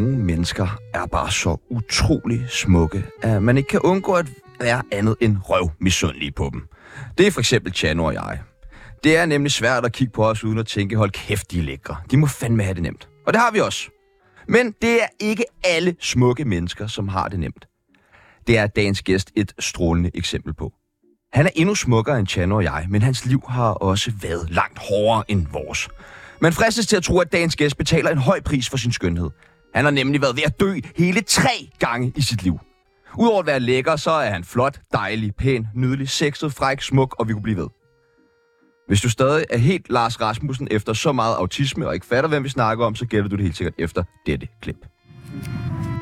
mennesker er bare så utrolig smukke, at man ikke kan undgå at være andet end røv misundelige på dem. Det er for eksempel Chano og jeg. Det er nemlig svært at kigge på os uden at tænke, hold kæft, de er lækre. De må fandme have det nemt. Og det har vi også. Men det er ikke alle smukke mennesker, som har det nemt. Det er dagens gæst et strålende eksempel på. Han er endnu smukkere end Chano og jeg, men hans liv har også været langt hårdere end vores. Man fristes til at tro, at dagens gæst betaler en høj pris for sin skønhed. Han har nemlig været ved at dø hele tre gange i sit liv. Udover at være lækker, så er han flot, dejlig, pæn, nydelig, sexet, fræk, smuk, og vi kunne blive ved. Hvis du stadig er helt Lars Rasmussen efter så meget autisme og ikke fatter, hvem vi snakker om, så gætter du det helt sikkert efter dette klip.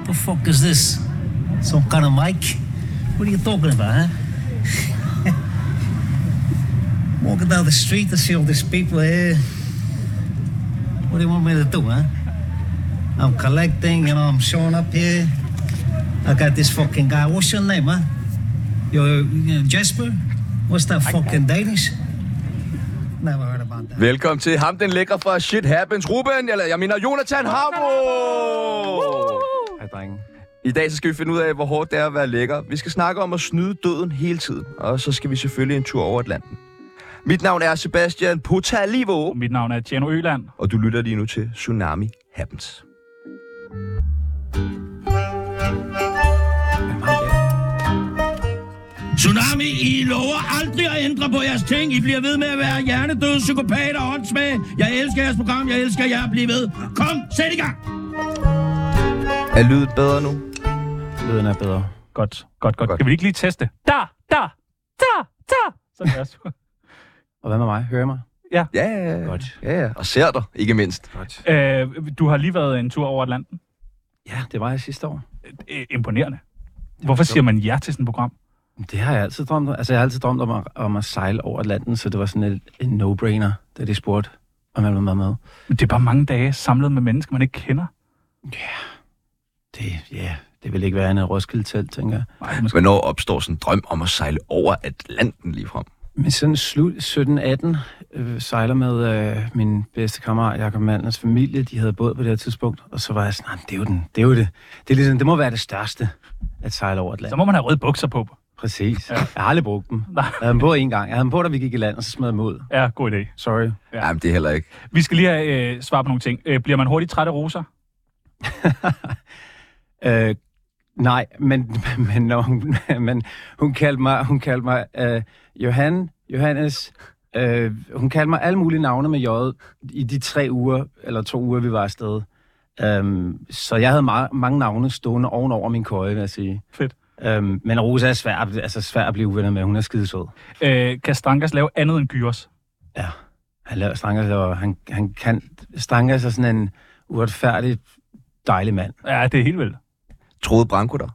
The fuck is this? Some kind of mic? What are you talking about, huh? Walking down the street, I see all these people here. What do you want me to do, huh? I'm collecting, you know, I'm showing up here. I got this fucking guy. What's your name, huh? You're, you know, Jesper? What's that fucking Danish? Never heard about that. Velkommen til ham, den lækre fra Shit Happens, Ruben, eller jeg mener Jonathan Harbo! Hej, drenge. I dag så skal vi finde ud af, hvor hårdt det er at være lækker. Vi skal snakke om at snyde døden hele tiden, og så skal vi selvfølgelig en tur over Atlanten. Mit navn er Sebastian Potalivo, Mit navn er Tjerno Øland. og du lytter lige nu til Tsunami Happens. Tsunami, I lover aldrig at ændre på jeres ting. I bliver ved med at være hjernedøde psykopater og åndssvage. Jeg elsker jeres program. Jeg elsker jer. Bliv ved. Kom, sæt i gang. Er lyden bedre nu? Lyden er bedre. Godt, godt, godt. Godt. Kan vi ikke lige teste? Der, der, der, der. Sådan er det. Og hvad med mig? Hører I mig? Ja, ja, ja. Godt. ja, ja. Og ser dig, ikke mindst. Godt. Øh, du har lige været en tur over Atlanten. Ja, det var jeg sidste år. Øh, imponerende. Hvorfor siger man ja til sådan et program? Det har jeg altid drømt om. Altså, jeg har altid drømt om at, om at sejle over Atlanten, så det var sådan et, en no-brainer, da de spurgte, om jeg ville være med. Men Det er bare mange dage samlet med mennesker, man ikke kender. Det, ja, yeah, det vil ikke være andet Roskilde telt, tænker jeg. Nej, måske. Hvornår opstår sådan en drøm om at sejle over Atlanten ligefrem? Men sådan slut 17-18 øh, sejler med øh, min bedste kammerat Jakob Mandlers familie. De havde båd på det her tidspunkt, og så var jeg sådan, "Nå, men det er jo, den, det, er jo det. det, er ligesom, det må være det største at sejle over Atlanten. Så må man have røde bukser på. Præcis. Ja. Ja. Jeg har aldrig brugt dem. Nej. Jeg havde dem på en gang. Jeg havde dem på, da vi gik i land, og så smed jeg dem ud. Ja, god idé. Sorry. Ja. Jamen, det er heller ikke. Vi skal lige have øh, svar på nogle ting. Øh, bliver man hurtigt træt af roser? Øh, nej, men, men, når hun, men hun kaldte mig, hun kaldte mig øh, Johan, Johannes. Øh, hun kaldte mig alle mulige navne med J'et i de tre uger, eller to uger, vi var afsted. Øhm, så jeg havde meget, mange navne stående ovenover min køje, vil jeg sige. Fedt. Øhm, men Rosa er svær, at- altså svær at blive uvenner med. Hun er skidesød. Øh, kan Stankers lave andet end gyros? Ja, han laver Stankers, og han, han kan... Stankers er sådan en uretfærdig, dejlig mand. Ja, det er helt vildt. Troede Branko dig?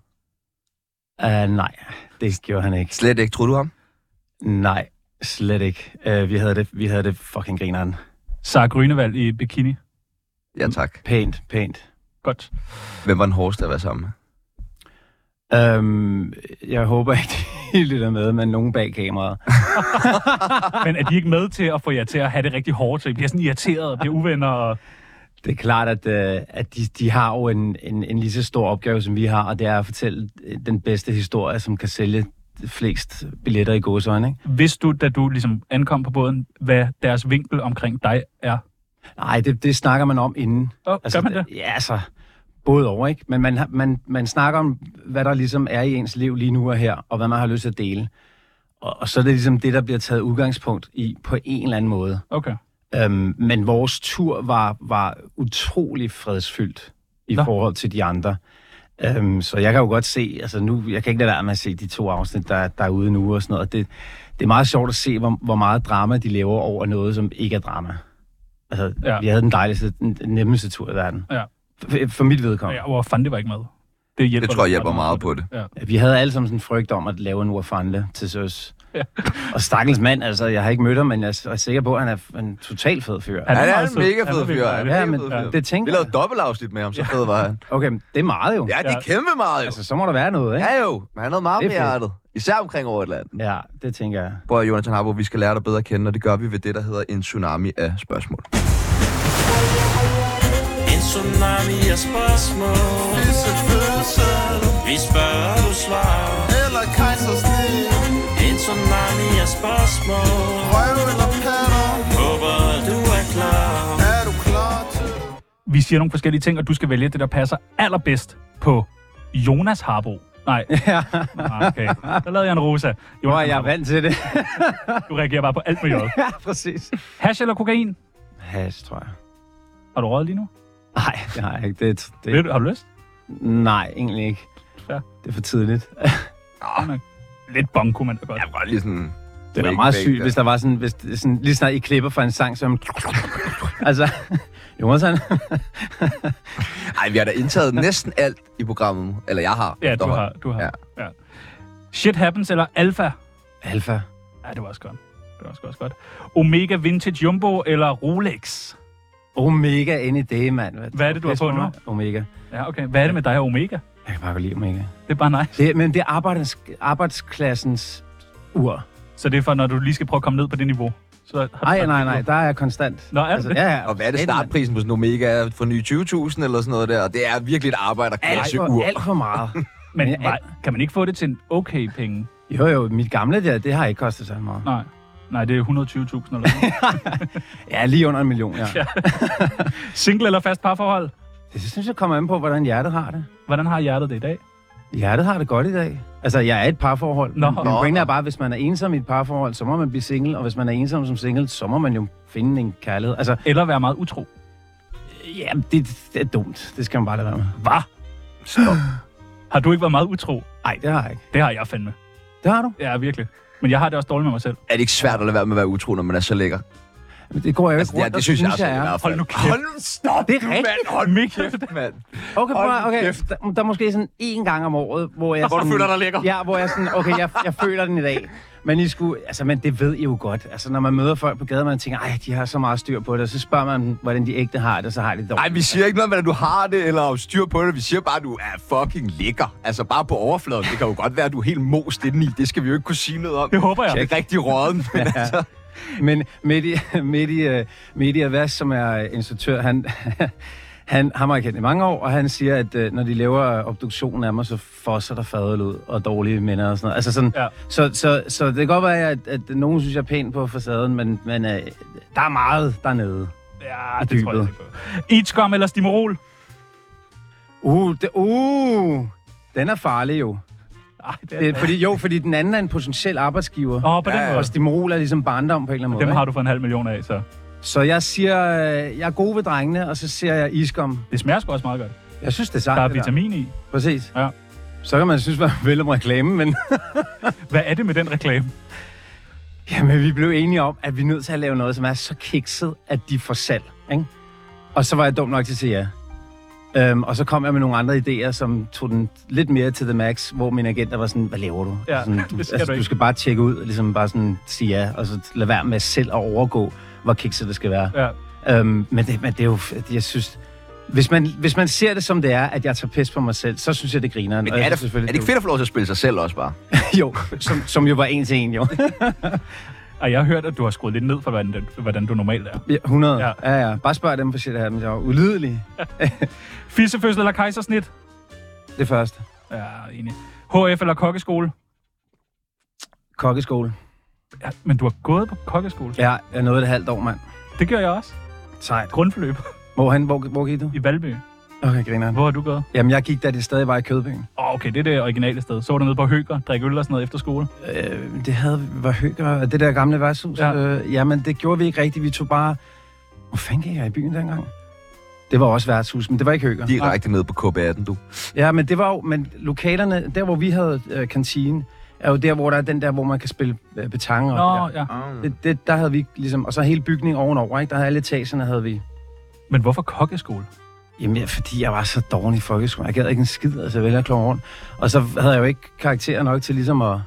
Uh, nej, det gjorde han ikke. Slet ikke. Troede du ham? Nej, slet ikke. Uh, vi, havde det, vi havde det fucking grineren. Sara Grønevald i bikini. Ja, tak. Pænt, pænt. Godt. Hvem var den hårdeste at være sammen med? Um, jeg håber ikke, de lytter med, men nogen bag kameraet. Men er de ikke med til at få jer til at have det rigtig hårdt, så I bliver sådan irriteret og bliver uvenner? Og... Det er klart, at, uh, at de, de har jo en, en, en lige så stor opgave, som vi har, og det er at fortælle øh, den bedste historie, som kan sælge flest billetter i gåsøjne, ikke? Vidste du, da du ligesom ankom på båden, hvad deres vinkel omkring dig er? Nej, det, det snakker man om inden. Oh, altså, gør man øh, det? Ja, altså, både over, ikke? Men man, har- man, man snakker om, hvad der ligesom er i ens liv lige nu og her, og hvad man har lyst til at dele. Og, og så er det ligesom det, der bliver taget udgangspunkt i på en eller anden måde. Okay. Øhm, men vores tur var, var utrolig fredsfyldt i Nå. Nå. forhold til de andre. Øhm, så jeg kan jo godt se, altså nu, jeg kan ikke lade være med at se de to afsnit, der, der er ude nu og sådan noget. Det, det er meget sjovt at se, hvor, hvor meget drama de laver over noget, som ikke er drama. Altså, Ja. ja. vi havde den dejligste, den den nemmeste tur i verden. Ja. For, for mit vedkommende. Ja, hvor fanden det var ikke med. Det, hjælper Det tror jeg dig hjælper ret meget på det. Ja. Vi havde alle sammen sådan en frygt om at lave en urfandle til søs. Ja. Ja. Og stakkels mand, altså, jeg har ikke mødt ham, men jeg er sikker på, at han er en total fed fyr. Han Han er er, meget en sød. mega Han er fed fyr. virkelig Han er mega Ja, men fed fyr. det tænker Vi lavede dobbeltafsnit med ham, så fed var han. Okay, men det er meget jo. Ja, det er Ja. kæmpe meget, jo. Altså, så må der være noget, ikke? Ja jo, men han havde meget Det er med fedt. hjertet. Især omkring over Atlanten. Ja, det tænker jeg. Prøv at, Jonathan Harbo, vi skal lære dig bedre at kende, og det gør vi ved det, der hedder en tsunami af spørgsmål. En tsunami af spørgsmål Fisse fødsel Vi spørger, du svarer Eller kejsersnit En tsunami af spørgsmål Røv eller patter Håber, du er klar Er du klar til Vi siger nogle forskellige ting, og du skal vælge det, der passer allerbedst på Jonas Harbo. Nej. Ah, Okay. Der lavede jeg en rosa. Hvor er Jonas jeg Harbo. vant til det. Du reagerer bare på alt med jord. ja, præcis. Hash eller kokain? Has, tror jeg. Har du røget lige nu? Nej, det har jeg ikke. Det, Vil det, du, har du lyst? nej, egentlig ikke. Ja. Det er for tidligt. Lidt bong kunne man da godt. Jeg var godt lige sådan... Det er Wake meget back sygt, der. hvis der var sådan, hvis, det- sådan, lige snart I klipper fra en sang, så er man... altså, Jonas han... Ej, vi har da indtaget næsten alt i programmet. Eller jeg har. Ja, du efterhånden. har. Du har. Ja. Ja. Shit happens eller alfa? Alfa. Ja, det var også godt. Det var også også godt. Omega Vintage Jumbo eller Rolex? Omega ind i det, mand. Hvad er det, du har på nu? Omega. Ja, okay. Hvad er det med dig og Omega? Jeg kan bare godt lide Omega. Det er bare nice. Det, men det er arbejds, arbejdsklassens ur. Så det er for, når du lige skal prøve at komme ned på det niveau. Så har du Nej, faktisk- nej, nej, der er jeg konstant. Altså, Nå, er du det? ja, ja. Og hvad er det Alt- startprisen på sådan en Omega for nye 20.000 eller sådan noget der? Det er virkelig et arbejde at Alt klasse for, ur. alt for meget. Men Men nej, kan man ikke få det til en okay penge? Jo, jo, mit gamle der, det har ikke kostet så meget. Nej. Nej, det er 120.000 eller noget. Ja, lige under en million, ja. ja. Single eller fast parforhold? Det synes jeg kommer an på, hvordan hjertet har det. Hvordan har hjertet det i dag? Hjertet har det godt i dag. Altså, jeg er i et parforhold. Nå. Nå. Men pointen er bare, at hvis man er ensom i et parforhold, så må man blive single. Og hvis man er ensom som single, så må man jo finde en kærlighed. Altså, Eller være meget utro? ja, det, det er dumt. Det skal man bare lade være med. Hvad? Stop. Har du ikke været meget utro? Nej, det har jeg ikke. Det har jeg fandme. Det har du. Ja, virkelig. Men jeg har det også dårligt med mig selv. Er det ikke svært at lade være med at være utro, når man er så lækker? Men det går jeg jo Altså, det, ikke er, rundt det og synes jeg, også, er. i hvert fald. Hold nu kæft. Hold nu, stop Det er nu, rigtigt. mand. Hold nu Mikkel. kæft, mand. Okay, prøv, Hold at- nu okay. kæft. Der, der er måske sådan én gang om året, hvor jeg... Hvor du sådan- føler dig lækker. Ja, hvor jeg sådan, okay, jeg, jeg føler den i dag. Men, I skulle, altså, men det ved I jo godt. Altså, når man møder folk på gaden, man tænker, ej, de har så meget styr på det, og så spørger man, dem, hvordan de ægte har det, og så har de det dårligt. Nej, vi siger ikke noget med, at du har det, eller om styr på det. Vi siger bare, at du er fucking lækker. Altså bare på overfladen. Det kan jo godt være, at du er helt most indeni. Det skal vi jo ikke kunne sige noget om. Det håber jeg. Det er rigtig råden. Men altså, Men Mehdi, Mehdi, øh, Mehdi Avas, som er øh, instruktør, han, han har mig kendt i mange år, og han siger, at øh, når de laver øh, obduktionen af mig, så fosser der fadøl ud og dårlige minder og sådan noget. Altså sådan, Ja. ja. så, så, så det kan godt være, at, at nogen synes, jeg er pæn på facaden, men, men øh, der er meget dernede. Ja, I det tror jeg dybet. ikke på. Eachcom eller Stimorol? Uh, det, uh, den er farlig jo. Nej, det er Det, er- fordi, jo, fordi den anden er en potentiel arbejdsgiver. Åh, på den måde. Og Stimorol er ligesom barndom på en eller anden måde. Dem ikke? har du for en halv million af, så Så jeg siger, øh, jeg er god ved drengene, og så siger jeg iskom. det smager sgu også meget godt. Jeg synes, det er sejt. Der er det der. vitamin i. Præcis. Ja. Så kan man synes, man vil om reklame, men Hvad er det med den reklame? jamen, vi blev enige om, at vi er nødt til at lave noget, som er så kikset, at de får salg. Ikke? Og så var jeg dum nok til at sige ja. Øhm, og så kom jeg med nogle andre idéer, som tog den lidt mere til the max, hvor min agent var sådan, hvad laver du? Ja, sådan, du, det skal altså, du du, ikke. skal bare tjekke ud, og ligesom bare sådan sige ja, og så lade være med selv at overgå, hvor kikset det skal være. Ja. Øhm, men, det, men det er jo, jeg synes, hvis man, hvis man ser det som det er, at jeg tager pis på mig selv, så synes jeg, det griner. men er, det, er det ikke fedt at få lov til at spille sig selv også bare? Jo, som, som jo var en til en, jo. Og jeg har hørt, at du har skruet lidt ned for, hvordan, hvordan du normalt er. Ja, 100. Ja. Ja. ja, ja. Bare spørg dem for shit her, men jeg var ulydelig. Fissefødsel eller kejsersnit? Det første. Ja, enig. HF eller kokkeskole? Kokkeskole. Ja, men du har gået på kokkeskole. Ja, jeg nåede det halvt år, mand. Det gør jeg også. Sejt. Grundforløb Hvorhen, hvor, hvor gik du? i Valby. Okay, grineren. Hvor har du gået? Jamen, jeg gik da det stadig var i Kødbyen. Åh, okay, det er det originale sted. Så var du nede på Høger, drikke øl og sådan noget efter skole. Øh, det havde var hyggeligt. Det der gamle værtshus. Ja. Ja. Øh, jamen, det gjorde vi ikke rigtigt. Vi tog bare... Hvor fanden gik jeg i byen dengang? Det var også værtshus, men det var ikke hyggeligt. Direkte ned på KB18, du. Ja, men det var jo, men lokalerne, der hvor vi havde øh, kantinen, er jo der, hvor der er den der, hvor man kan spille øh, betang og det der. Nå, ja. Det, det, der havde vi ligesom, og så hele bygningen ovenover, ikke? Der havde alle etagerne, havde vi. Men hvorfor kokkeskole? Jamen, ja, fordi jeg var så dårlig i folkeskolen. Jeg gad ikke en skid, altså jeg vælger at klare rundt. Og så havde jeg jo ikke karakter nok til ligesom at,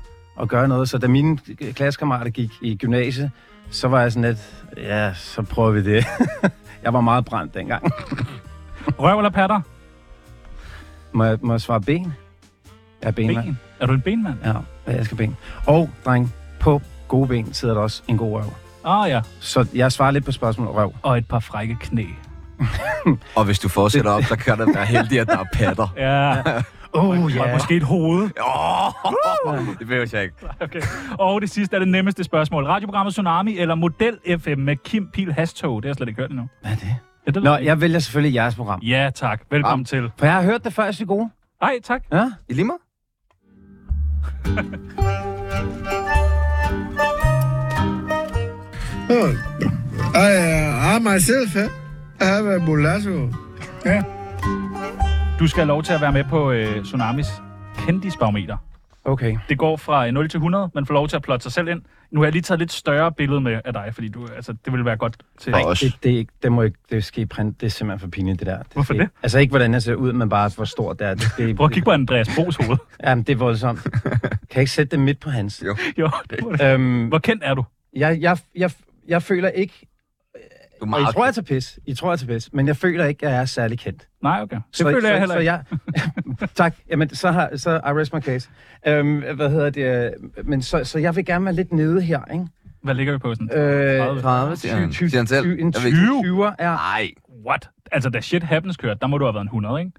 at gøre noget. Så da mine klassekammerater gik i gymnasiet, så var jeg sådan lidt, ja, så prøver vi det. jeg var meget brændt dengang. Røv eller patter? Må jeg, må jeg svare ben? Jeg er benmand. Ben. Er du en benmand? Ja, jeg elsker ben. Og, dreng, på gode ben sidder der også en god røv. Ah ja, Så jeg svarer lidt på spørgsmålet røv. og et par frække knæ. Og hvis du fortsætter op, så kan der være heldig, at der er patter. Ja. Oh, Og måske et hoved. Oh, det behøver jeg ikke. Okay. Og det sidste er det nemmeste spørgsmål. Radioprogrammet Tsunami eller Model FM med Kim Pil Hastog? Det har jeg slet ikke hørt endnu. Hvad er det? Ja, det ved Nå, jeg ikke. jeg vælger selvfølgelig jeres program. ja tak. Velkommen Ah. til. For jeg har hørt det før, jeg synes, det er gode. Ej, tak. Ja? I lige måde? I, uh, I myself, huh? I have a mulatto. Du skal have lov til at være med på øh, Tsunamis kendisbarometer. Okay. Det går fra øh, 0 til 100. Man får lov til at plotte sig selv ind. Nu har jeg lige taget lidt større billede med af dig, fordi du, altså, det ville være godt til... For os. Det, det, er ikke- det må ikke, det skal i print. Det er simpelthen for pinligt, det der. Det Hvorfor skal, det? Altså ikke, hvordan jeg ser ud, men bare hvor stort det er. Det skal, I- Prøv at kigge på Andreas Bos hoved. Jamen, det er voldsomt. Kan jeg ikke sætte det midt på hans? Jo. jo, det må det. Øhm, Hvor kendt er du? jeg, jeg, jeg, jeg føler ikke... Du er Og I meget... tror, jeg tager pis. I tror, jeg tager pis. Men jeg føler ikke, at jeg er særlig kendt. Nej, okay. Det føler jeg heller ikke. Så jeg, tak. Jamen, så har så I rest my case. Øhm, hvad hedder det? øh, Men så, så jeg vil gerne være lidt nede her, ikke? Hvad ligger vi på sådan? Øh, 30, siger han. 20, Siger han selv. 20, en Jeg ved ikke. 20'er er... Nej. What? Altså, da shit happens kørte, der må du have været en 100, ikke?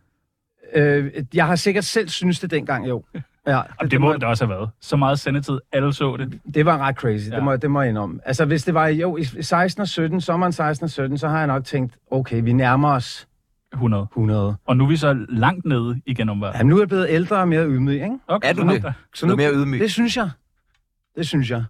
Øh, jeg har sikkert selv synes det dengang, jo. Ja, Jamen, det må det da også have været. Så meget sendetid, alle så det. det var ret crazy, Ja. det, må, jeg- det må jeg indrømme. Altså, hvis det var i- jo, i 16 og 17, sommeren 16 og 17, så har jeg nok tænkt, okay, vi nærmer os 100. 100. Og nu er vi så langt nede igen om Jamen, nu er jeg blevet ældre og mere ydmyg, ikke? Okay, Er du så nu- det? Så Du nu, er mere ydmyg. det synes jeg. Det synes jeg.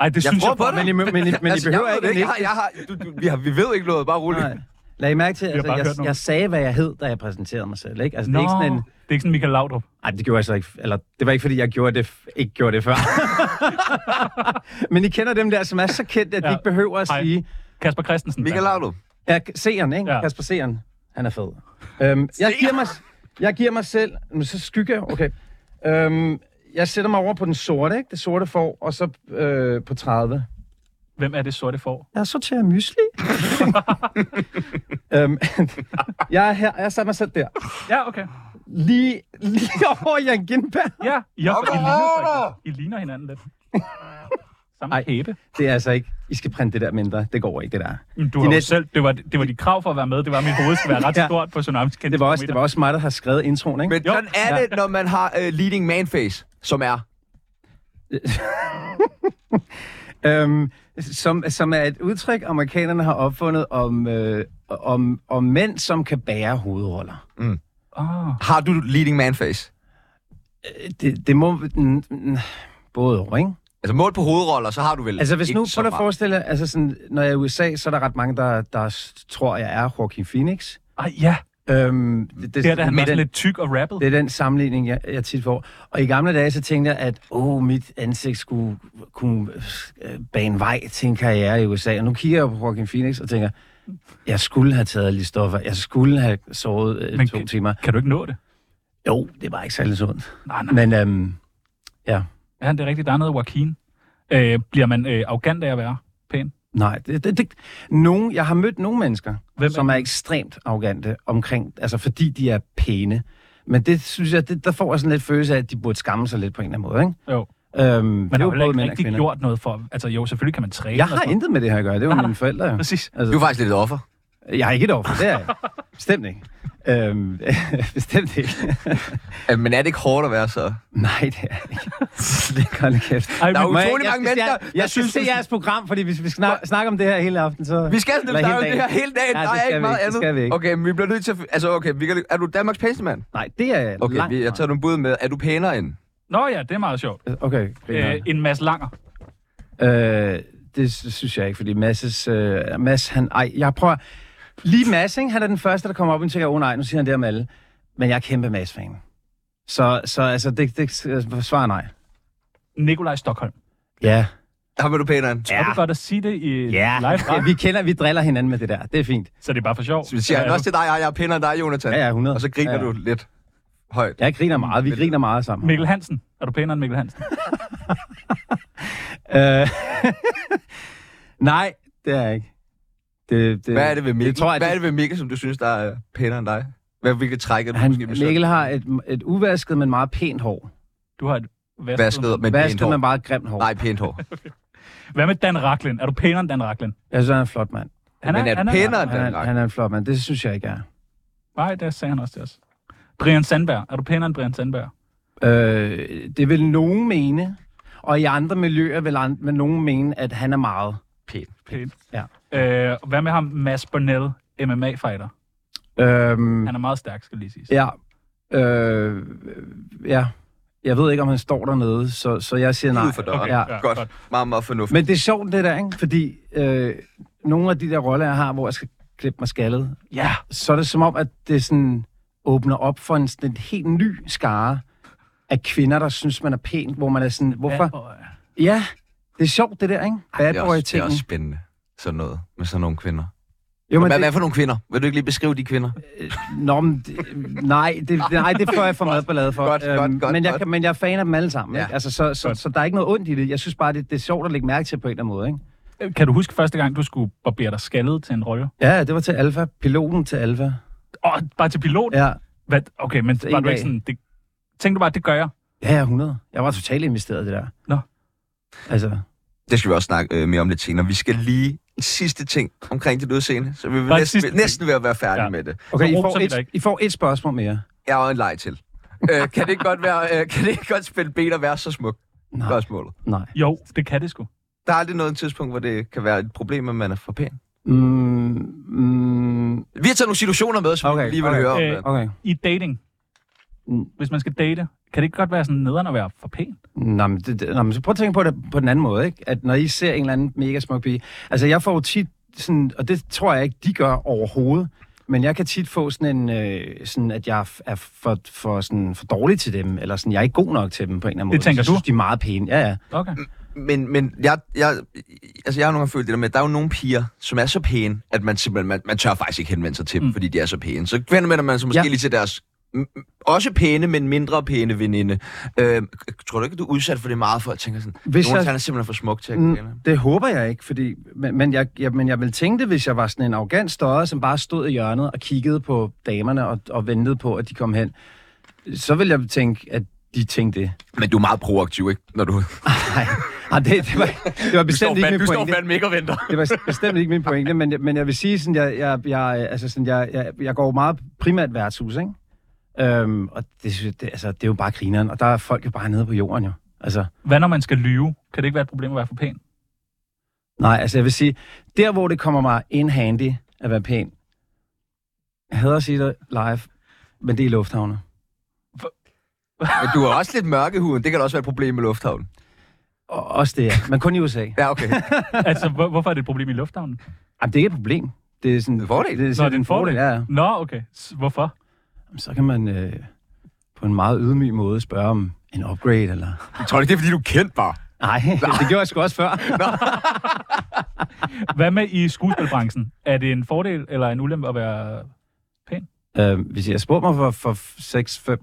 Ej, det Jeg synes tror jeg på det. bare, Men I, men, I, men I Altså, behøver jeg ved det ikke. ikke at Jeg nikke. har, jeg har, du, du, vi, har, vi ved ikke noget, bare roligt. Nej. Lad I mærke til, at altså, bare hørt jeg, nogle. jeg sagde, hvad jeg hed, da jeg præsenterede mig selv. Ikke? Altså, Nå, det er ikke sådan en... det er ikke sådan Michael Laudrup. Ej, det gjorde jeg så ikke. Eller, det var ikke, fordi jeg gjorde det, f- ikke gjorde det før. Men I kender dem der, som er så kendt, at de Ja. ikke behøver at Hej. sige... Kasper Christensen. Michael Laudrup. Ja, seeren, ikke? Ja. Ja. Kasper Seeren. Han er fed. Øhm, jeg, giver mig, jeg giver mig selv... Men så skygger jeg. Okay. Øhm, jeg sætter mig over på den sorte, ikke? Det sorte får, og så øh, på 30. Hvem er det sorte får? Jeg sorterer mysli. øhm, jeg er her, jeg satte mig selv der. Ja, okay. Lige, lige over Jan Gindberg. Ja, ja for I Kom ligner, over! faktisk- I ligner hinanden lidt. Samme Ej. kæbe. Det er altså ikke. I skal printe det der mindre. Det går ikke, det der. Men Du De har jo net- selv, det var, det var dit krav for at være med. Det var, at mit hoved skal være ret Ja. stort på Tsunamis kendte Det var også, det var også mig, der har skrevet introen, ikke? Men Men... jo. sådan er det, når man har uh, leading man face, som er... Øhm, som, som er et udtryk, amerikanerne har opfundet om, øh, om, om mænd, som kan bære hovedroller. Oh, Har du leading man face? Øh, Det, det må... n- n- Både over, ikke? Altså målt på hovedroller, så har du vel Altså, hvis ikke nu, så prøv dig at meget. forestille jer, altså sådan, når jeg er i USA, så er der ret mange, der, der s- tror, jeg er Joaquin Phoenix. ej, ja. Øhm, det, Det er da han var det, sådan den, lidt tyk og rappet. det er den sammenligning, jeg, jeg tit får. Og i gamle dage, så tænkte jeg, at åh, mit ansigt skulle kunne øh, bane vej til en karriere i USA. Og nu kigger jeg på Joaquin Phoenix og tænker, jeg skulle have taget lige stoffer. Jeg skulle have sovet øh, Men to kan- timer. Kan du ikke nå det? Jo, det var ikke særlig sundt. Nej, nej. Men øhm, Ja, det er rigtigt. Der er noget Joaquin. Øh, bliver man øh, arrogant af at være pæn? Nej, det, det, det, nogen, jeg har mødt nogle mennesker, Hvem er Hvem som er, ekstremt arrogante omkring, altså fordi de er pæne. Men det synes jeg, det, der får jeg sådan lidt følelse af, at de burde skamme sig lidt på en eller anden måde, ikke? Jo. Øhm, men Man har jo heller ikke rigtig gjort noget for... Altså jo, selvfølgelig kan man træne. Jeg og har sådan noget. intet med det her at gøre, det var mine forældre jo. Præcis. Altså, Du er faktisk lidt et offer. Jeg er ikke et offer, det er jeg. Bestemt ikke. Øhm, bestemt ikke. Øh, Men er det ikke hårdt at være så? Nej, det er jeg ikke. Det er koldt kæft. Ej, Der er men- Må jeg- utrolig mange jeg- jeg- mennesker, Jeg, jeg, der synes, synes, det du- er jeres program, fordi hvis vi snak, snakker om det her hele aften, så... Vi skal Eller nemlig snakke om hele det her dagen. hele dagen. Nej, Der er det skal ikke vi meget ikke. Det andet. skal vi ikke. Okay, men vi bliver nødt til at... Altså, okay, vi kan, er du Danmarks pæneste mand? Nej, det er jeg Okay, langt vi, jeg tager nogle bud med. Er du pænere end? Nå ja, det er meget sjovt. fra. Okay, griner. Øh, en masse langer. Øh, det sy- synes jeg ikke, fordi Masses, øh, Mads, han... Ej, jeg prøver... Lige Mads, ikke? han er den første, der kommer op og tænker, åh oh, nej, nu siger han det om alle. Men jeg er kæmpe Mads-fan. Så, så altså, det, det svarer nej. Nikolaj Stockholm. Ja. Der var du pænere end. Ja. Tror du godt at sige det i Ja, live? ja vi kender, vi driller hinanden med det der. Det er fint. Så det er bare for sjov. Øh, Så siger Ja, han også til dig, at jeg er pænere end dig, Jonathan. Ja, ja, 100. Og så griner ja, ja. du lidt højt. Jeg griner meget. Vi griner meget sammen. Mikkel Hansen. Er du pænere end Mikkel Hansen? Øh, nej, det er jeg ikke. Det, det, Hvad er det ved Mikkel? Det tror jeg, Hvad er det, det ved Mikkel, som du synes, der er pænere end dig? Hvad, hvilket træk er du han, måske misund- Mikkel har et, et uvasket, men meget pænt hår. Du har et vasket. Vasket, men pænt Vasket, hår. men meget grimt hår. Nej, pænt hår. Hvad med Dan Raklin? Er du pænere end Dan Raklin? Jeg synes, han er en flot mand. Han er, Men er han er, pænere end Han Danmark? er, han er en flot mand. Det synes jeg ikke jeg er. Nej, det sagde han også til os. Brian Sandberg. Er du pænere end Brian Sandberg? Øh, det vil nogen mene, og i andre miljøer vil, an, vil nogen mene, at han er meget. Pæn. Pæn. Ja. Øh, og hvad med ham, Mads Bonnell, MMA-fighter? Øhm, Han er meget stærk, skal lige sige. ja. Øh, ja. Jeg ved ikke, om han står dernede, så, så jeg siger nej. Ud for døren. Ja. Ja, godt. Meget, meget fornuftigt. Men det er sjovt, det der, ikke? Fordi øh, nogle af de der roller, jeg har, hvor jeg skal klippe mig skaldet, Ja, så er det som om, at det sådan åbner op for en, sådan en helt ny skare af kvinder, der synes, man er pæn, hvor man er sådan, hvorfor? Ja, det er sjovt, det der, ikke? Bad det, er boy også, det er ting. også spændende, sådan noget, med sådan nogle kvinder. Jo, men Hvad, det, hvad for nogle kvinder? Vil du ikke lige beskrive de kvinder? nå, men, det- nej, det, nej, det får jeg for meget ballade for. Øhm, Godt, godt, godt, men, jeg, godt. kan- men jeg er fan af dem alle sammen. Ja. Ja. Altså, så, så, Godt. så, der er ikke noget ondt i det. Jeg synes bare, det, det er sjovt at lægge mærke til på en eller anden måde. Ikke? øh, Kan du huske første gang, du skulle barbere dig skaldet til en rolle? Ja, det var til Alfa. Piloten til Alfa. Åh, oh, bare til pilot? Ja. Hvad? Okay, men er var en du ikke dag. sådan... Det, tænkte du bare, det gør jeg? Ja, ja, 100. Jeg var totalt investeret i det der. Nå. Altså, Det skal vi også snakke øh, mere om lidt senere. Vi skal lige en sidste ting omkring dit udseende, så vi vil Nå, en næsten, sidste næsten ved at være færdige Ja. med det. okay, I roser får, vi dig et, ikke. I får et spørgsmål mere. Jeg har en leg til. øh, kan det ikke godt være, øh, kan det ikke godt spille ben og være så smuk? Nej. Spørgsmålet. Nej. Jo, det kan det sgu. Der er aldrig noget tidspunkt, hvor det kan være et problem, at man er for pæn. Mm, mm, Vi har taget nogle situationer med, som okay, Okay, vi lige vil okay, okay. høre om. Øh, Øh, okay. I dating. Mm. Hvis man skal date, kan det ikke godt være sådan nederen at være for pæn? Nå, men, det, det- nå, men så prøv at tænke på det på den anden måde, ikke? At når I ser en eller anden mega smuk pige... Altså, jeg får jo tit sådan... Og det tror jeg ikke, de gør overhovedet. Men jeg kan tit få sådan en... Øh, sådan, at jeg er for, for, sådan, for dårlig til dem, eller sådan, jeg er ikke god nok til dem på en eller anden måde. Det tænker jeg synes, du? de er meget pæne. Ja, ja. Okay. men men jeg, jeg, altså, jeg har nogle gange følt det der med, at der er jo nogle piger, som er så pæne, at man simpelthen man, man tør faktisk ikke henvende sig til dem, Mm. mm. fordi de er så pæne. Så henvender man sig måske ja. Ja. lige til deres m- m- også pæne, men mindre pæne veninde. Øh, tror du ikke, at du er udsat for det meget, for at tænke sådan, Hvis Hvis Jonas jeg- jeg... han er simpelthen for smuk til at Mm, kende ham. Det håber jeg ikke, fordi, men, men, jeg, jeg, men jeg ville tænke det, hvis jeg var sådan en arrogant støde, som bare stod i hjørnet og kiggede på damerne og, og ventede på, at de kom hen. Så ville jeg tænke, at de tænkte det. Men du er meget proaktiv, ikke? Når du, Nej, Ej, det, det, var, det var bestemt ikke min pointe. fandme ikke og venter. Det var bestemt ikke min pointe, men, jeg- men jeg vil sige, sådan, jeg, jeg, jeg, altså, sådan, jeg, jeg, jeg går jo meget primært værtshus, ikke? Øhm, og det, synes jeg- det, altså, det er jo bare grineren, og der er folk jo bare nede på jorden jo. Altså, Hvad når man skal lyve? Kan det ikke være et problem at være for pæn? nej, altså jeg vil sige, der hvor det kommer mig in handy at være pæn, jeg hader at sige det live, men det er i lufthavne. Men du er også lidt mørkehuden. Det kan da også være et problem med lufthavnen. Og også det, ja. men kun i USA. Ja, okay. altså, hvor, hvorfor er det et problem i lufthavnen? Jamen, det er ikke et problem. Det er sådan En fordel. Det er, Nå, sådan, det er en fordel. Ja, ja. Nå, okay. S- Hvorfor? Jamen, Så kan man øh, på en meget ydmyg måde spørge om en upgrade, eller... Jeg tror ikke, det er, fordi du er kendt bare. Nej, det gjorde jeg sgu også før. Hvad med i skuespilbranchen? Er det en fordel eller en ulempe at være... Øh, hvis jeg spurgte mig for, for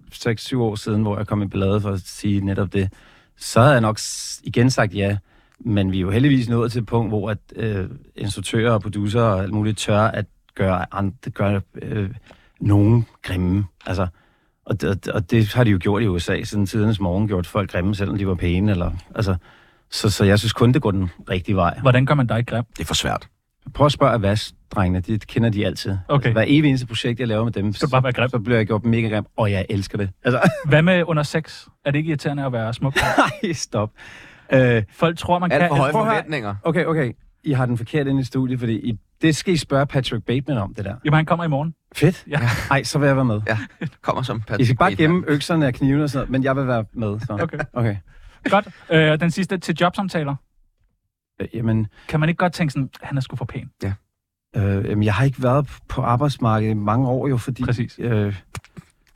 6-7 år siden, hvor jeg kom i ballade for at sige netop det, så havde jeg nok s- igen sagt ja. Men vi er jo heldigvis nået til et punkt, hvor at, øh, instruktører og producer og alt muligt tør at gøre, andre, gøre øh, nogen grimme. Altså, og, det, og det har de jo gjort i USA siden tidernes morgen, gjort folk grimme, selvom de var pæne. Eller, altså, så, så jeg synes kun, det går den rigtige vej. Hvordan gør man dig grim? Det er for svært. Prøv at spørge Avas-drengene, det kender de altid. Okay. Hver evig eneste projekt, jeg laver med dem, Skal du bare være grim? så bliver jeg gjort mega grim, og jeg elsker det. Altså, Hvad med under sex? Er det ikke irriterende at være smuk? nej, stop. Øh, Folk tror, man Er det kan... for høje prøv at høre. forventninger? okay, okay. I har den forkert inde i studiet, fordi I, det skal I spørge Patrick Bateman om, det der. Jamen, han kommer i morgen. Fedt. Ja. Ej, så vil jeg være med. Ja, kommer som Patrick. I skal bare Bateman. gemme økserne og knivene og sådan noget, men jeg vil være med. Så. Okay. okay. Godt. Øh, den sidste til jobsamtaler. Øh, jamen, Kan man ikke godt tænke sådan, han er sgu for pæn? øh, jamen, jeg har ikke været på arbejdsmarkedet i mange år jo, fordi... Præcis. Øh,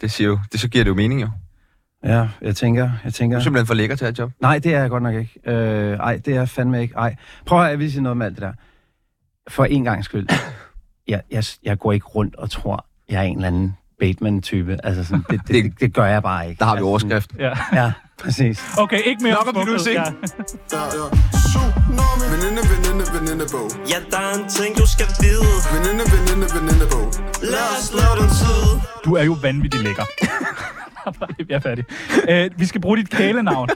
Det siger jo, det så giver det jo mening jo. ja, jeg tænker, jeg Du tænker... er simpelthen for lækker til at have et job. Nej, det er jeg godt nok ikke. Øh, ej, det er jeg fandme ikke. Ej. Prøv at høre, jeg vil sige noget med alt det der. For en gang skyld. Jeg, jeg, jeg går ikke rundt og tror, jeg er en eller anden Bateman-type. Altså, sådan, det, det, det, det, gør jeg bare ikke. Der har vi altså, overskrift. Ja. Sådan, ja, præcis. Okay, ikke mere Nok om din smukhed. udsigt. Ja. Ja, ja. Tsunami. Veninde, veninde, venindebog. Ja, der er en ting, du skal vide Veninde, veninde, venindebog. Lad os lave den tid Du er jo vanvittig lækker. Jeg er færdig. Øh, vi skal bruge dit kælenavn.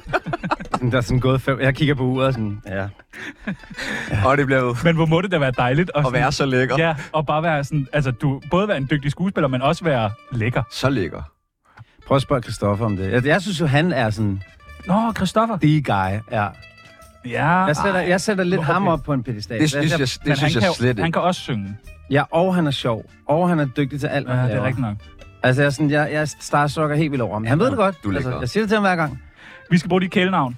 sådan, der er sådan gået fem... Jeg kigger på uret og sådan, ja. Og det bliver ved Men hvor må det da være dejligt at være så lækker. Ja, og bare være sådan, altså du, både være en dygtig skuespiller, men også være lækker. Så lækker. Prøv at spørge Christoffer om det. Jeg, jeg synes jo, han er sådan Nå, Christoffer. the guy. Ja. Ja, Jeg sætter, jeg sætter lidt Hvorfor ham det? op på en pedestal. Det, Jeg- synes jeg, jeg- men det han synes jeg kan, jo- slet Han ikke. kan også synge. Ja, og han er sjov. Og han er dygtig til alt, Ja, hvad han det er laver. rigtigt nok. Altså, jeg, er sådan, jeg, jeg starstrucker helt vildt over ham. Han ved det godt. du er altså, lækker. jeg siger det til ham hver gang. Vi skal bruge dit kælenavn.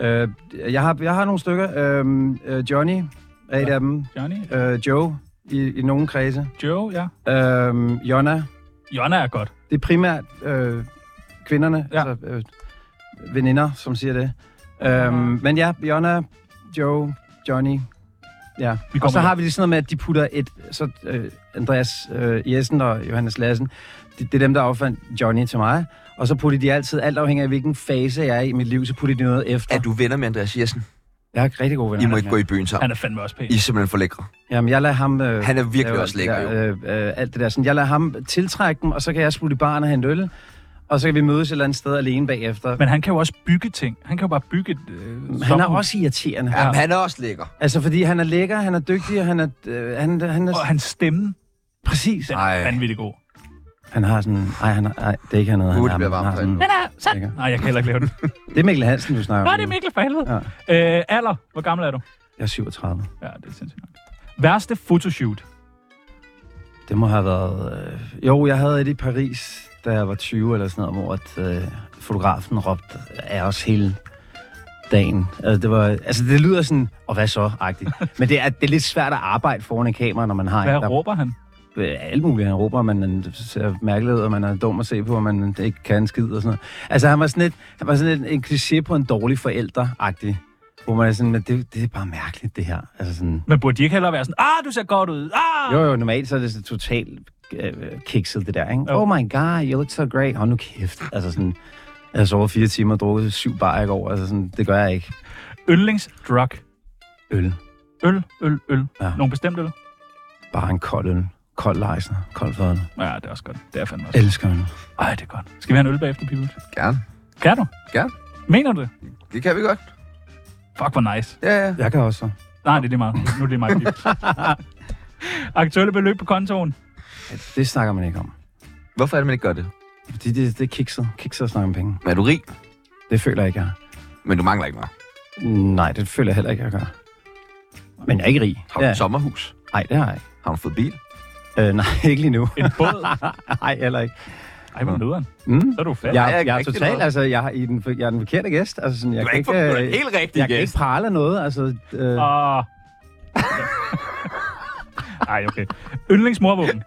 Øh, jeg, har, jeg har nogle stykker. Øh, øh, Johnny er et af dem. Johnny? Øh, Joe i, i nogle kredse. Joe, ja. Øh, Jonna. Jonna er godt. Det er primært øh, kvinderne, Ja. ja. altså øh, veninder, som siger det. Øh, men ja, Jonna, Joe, Johnny. Ja. Vi Og så kommer har vi lige sådan noget med, at de putter et... Så øh, Andreas øh, Jessen og Johannes Lassen, det, det er dem, der opfandt Johnny til mig. Og så putter de altid, alt afhængig af hvilken fase jeg er i mit liv, så putter de noget efter. Er du venner med Andreas Jessen? Jeg er rigtig god venner. I må med ikke ham, gå ja. i byen sammen. Han er fandme også pæn. I er simpelthen for lækre. Jamen, jeg lader ham... Øh, Han er virkelig lave også alt det lækker, jo. der, øh, øh, alt det der. Sådan, jeg lader ham tiltrække dem, og så kan jeg smutte i baren og hente øl. Og så kan vi mødes et eller andet sted alene bagefter. Men han kan jo også bygge ting. Han kan jo bare bygge et øh, han er sommerhus. også irriterende. Jamen, han er også lækker. Altså, fordi han er lækker, han er dygtig, og han er... Øh, han, han er Og hans stemme, præcis. den Ej. er vanvittig god. Han har sådan... Ej, han har, ej det er ikke han noget, han Uh, det har, bliver men han varmt har sådan- herinde. Lækker. Nej, jeg kan heller ikke lave den. Det er Mikkel Hansen, du snakker øh, Nå, om. det er Mikkel for helvede. Ja. Øh, alder, hvor gammel er du? Jeg er 37. Ja, det er sindssygt nok. Værste fotoshoot. Det må have været... Øh, jo, jeg havde et i Paris, da jeg var 20 eller sådan noget, hvor at, øh, fotografen råbte af os hele dagen. Altså, det, var, altså, det lyder sådan, og hvad så, agtigt. Men det er, det er lidt svært at arbejde foran et kamera, når man har Hvad en, der råber han? øh, alt muligt. Han råber, at man øh, ser mærkelig ud, og man er dum at se på, og man øh, ikke kan en skid og sådan noget. Altså, han var sådan lidt, han var sådan lidt en kliché på en dårlig forælder-agtig. Hvor man er sådan, men det, det er bare mærkeligt, det her. Altså sådan, Men burde de ikke hellere være sådan, ah, du ser godt ud, ah! jo, jo, normalt så er det så totalt øh, kikset, det der, ikke? Jo. Oh my god, you look so great. Hold nu kæft. Altså sådan, jeg har sovet fire timer og drukket syv bar i går. Altså sådan, det gør jeg ikke. Yndlingsdrug. Øl. Øl, øl, øl. Ja. Ja. Nogle bestemt øl? Bare en kold øl. Kold lejsner. Kold fadøl. Ja, det er også godt. Det er fandme også. Elsker øl. godt. Ej, det er godt. Skal vi have en øl bagefter, Pibels? Gerne. Kan du? Gerne. Mener du det? Det kan vi godt. Fuck, hvor nice. Ja, ja. Jeg kan også. Nej, det er lige meget. Nu er det lige meget. Pibels. Aktuelle beløb på kontoen. Det snakker man ikke om. Hvorfor er det, man ikke gør det? Fordi det, det er kikset. Kikset at snakke om penge. Men er du rig? Det føler jeg ikke, jeg har. Men du mangler ikke mig. Nej, det føler jeg heller ikke, jeg gør. Men jeg er ikke rig. Har du et sommerhus? Nej, det har jeg ikke. Har du fået bil? Øh, nej, ikke lige nu. En båd. Nej, heller ikke. Ej, hvor nederen. Mm. Så er du fed. Jeg, jeg er jeg, jeg er ikke rigtig totalt, noget. altså, jeg, er i den, jeg er den forkerte gæst. Altså, sådan, jeg Du er kan ikke, for, du er øh, den helt rigtig jeg kan gæst. ikke prale af noget. Altså, øh, Og... Ah. Ej, okay. Yndlingsmorvåben.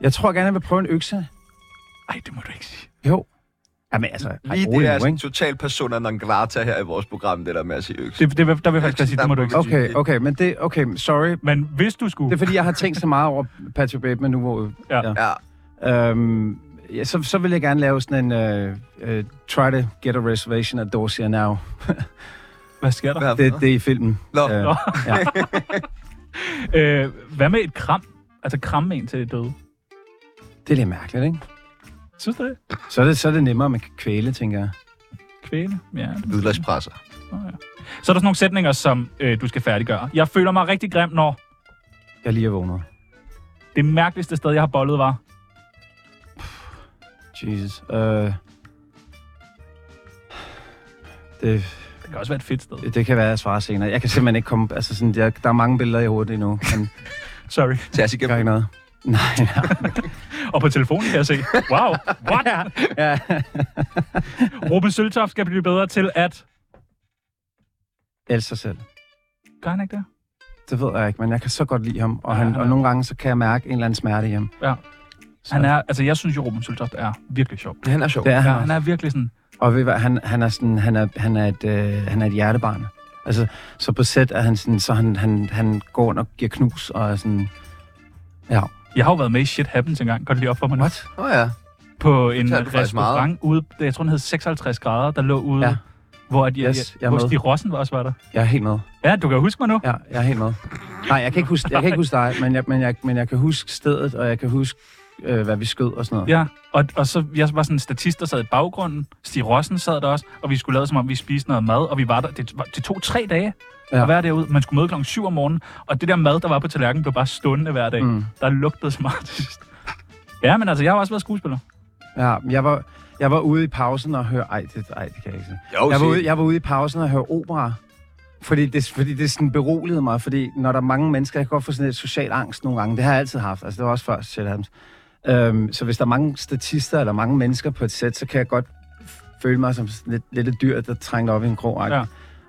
Jeg tror gerne, jeg vil prøve en økse. Ej, det må du ikke sige. Jo. Jamen altså, ej, Lige det rolig er nu, sådan ikke? total persona non grata her i vores program, det der med at sige økse. Det, det, der vil jeg faktisk godt sige, det må du ikke sige. Okay, okay, men det, okay, sorry. Men hvis du Det skulle... er fordi, jeg har tænkt så meget over Patrick Bateman nu, hvor... Ja. Ja, Øhm, ja, så, så vil jeg gerne lave sådan en... Øh, øh, try to get a reservation at Dorsia now. Hvad sker der? hvad Det, det er i filmen. Nå. Øh, Nå. ja. Øh, hvad med et kram? Altså kramme en til døde. Det er lidt mærkeligt, ikke? Synes du det? Så er det, så er det nemmere, at man kan kvæle, tænker jeg. Kvæle? Ja. det- Hvidløgspresser. Nå, ja. Så er der sådan nogle sætninger, som øh, du skal færdiggøre. Jeg føler mig rigtig grim, når Jeg lige er vågnet. det mærkeligste sted, jeg har bollet, var... Jesus. Øh, det, Det kan også være et fedt sted. det kan være, at jeg svarer senere. Jeg kan simpelthen ikke komme... Altså sådan, jeg, der er mange billeder i hovedet endnu, men Sorry. Så jeg siger, gør ikke noget. Nej, nej. Og på telefonen kan jeg se. Wow, what? Ja. Ruben Søltoft skal blive bedre til at... Else sig selv. Gør han ikke det? Det ved jeg ikke, men jeg kan så godt lide ham. Og, han, Ja, ja. og nogle gange, så kan jeg mærke en eller anden smerte i ham. Ja. Så, Han er, altså, jeg synes jo, Ruben Søltoft er virkelig sjov. han er sjov. Det er Ja, han. han også. er virkelig sådan... Og ved I hvad, han, han, er sådan, han, er, han, er et, øh, han er et hjertebarn. Altså, så på sæt er han sådan, så han, han, han går rundt og giver knus, og er sådan, ja, Jeg har jo været med i Shit Happens engang. Godt lige op for mig nu. what? Nå ja. På en fortalte du faktisk meget restaurant ude... Jeg tror, den hed 56 grader, der lå ude... Ja. Hvor, at jeg, Yes, jeg er hvor med. Stig Rossen var også var der. Jeg er helt med. Ja, du kan huske mig nu. Ja, jeg er helt med. Nej, jeg kan ikke huske, jeg kan ikke huske dig, men jeg, men, jeg, men jeg kan huske stedet, og jeg kan huske øh, hvad vi skød og sådan noget. Ja, og, og så jeg var sådan en statist, der sad i baggrunden. Stig Rossen sad der også, og vi skulle lade som om, vi spiste noget mad, og vi var der. Det, var- det tog tre dage ja. Ja. at være derude. Man skulle møde klokken 7 om morgenen, og det der mad, der var på tallerkenen, blev bare stående hver dag. Mm. Mm. Der lugtede smart til sidst. Ja, men altså, jeg har også været skuespiller. Ja, men jeg var, jeg var ude i pausen og hørte... Ej, det, ej, det kan jeg ikke sige. Jo, Jeg var, sig. ude, jeg var ude i pausen og hørte opera. Fordi det, fordi det sådan beroligede mig, fordi når der er mange mennesker, jeg kan godt få sådan lidt social angst nogle gange. Det har jeg altid haft, altså det var også før Shell Adams. Øhm, så hvis der er mange statister eller mange mennesker på et sæt, så kan jeg godt føle mig som sådan lidt, lidt et dyr, der trængte op i en krog. Ja. Ja.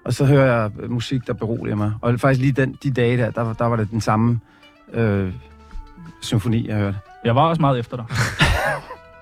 Og så hører jeg øh, musik, der beroliger mig. Og faktisk lige den, de dage der, der, der var det den samme øh, symfoni, jeg hørte. Jeg var også meget efter dig. jeg kan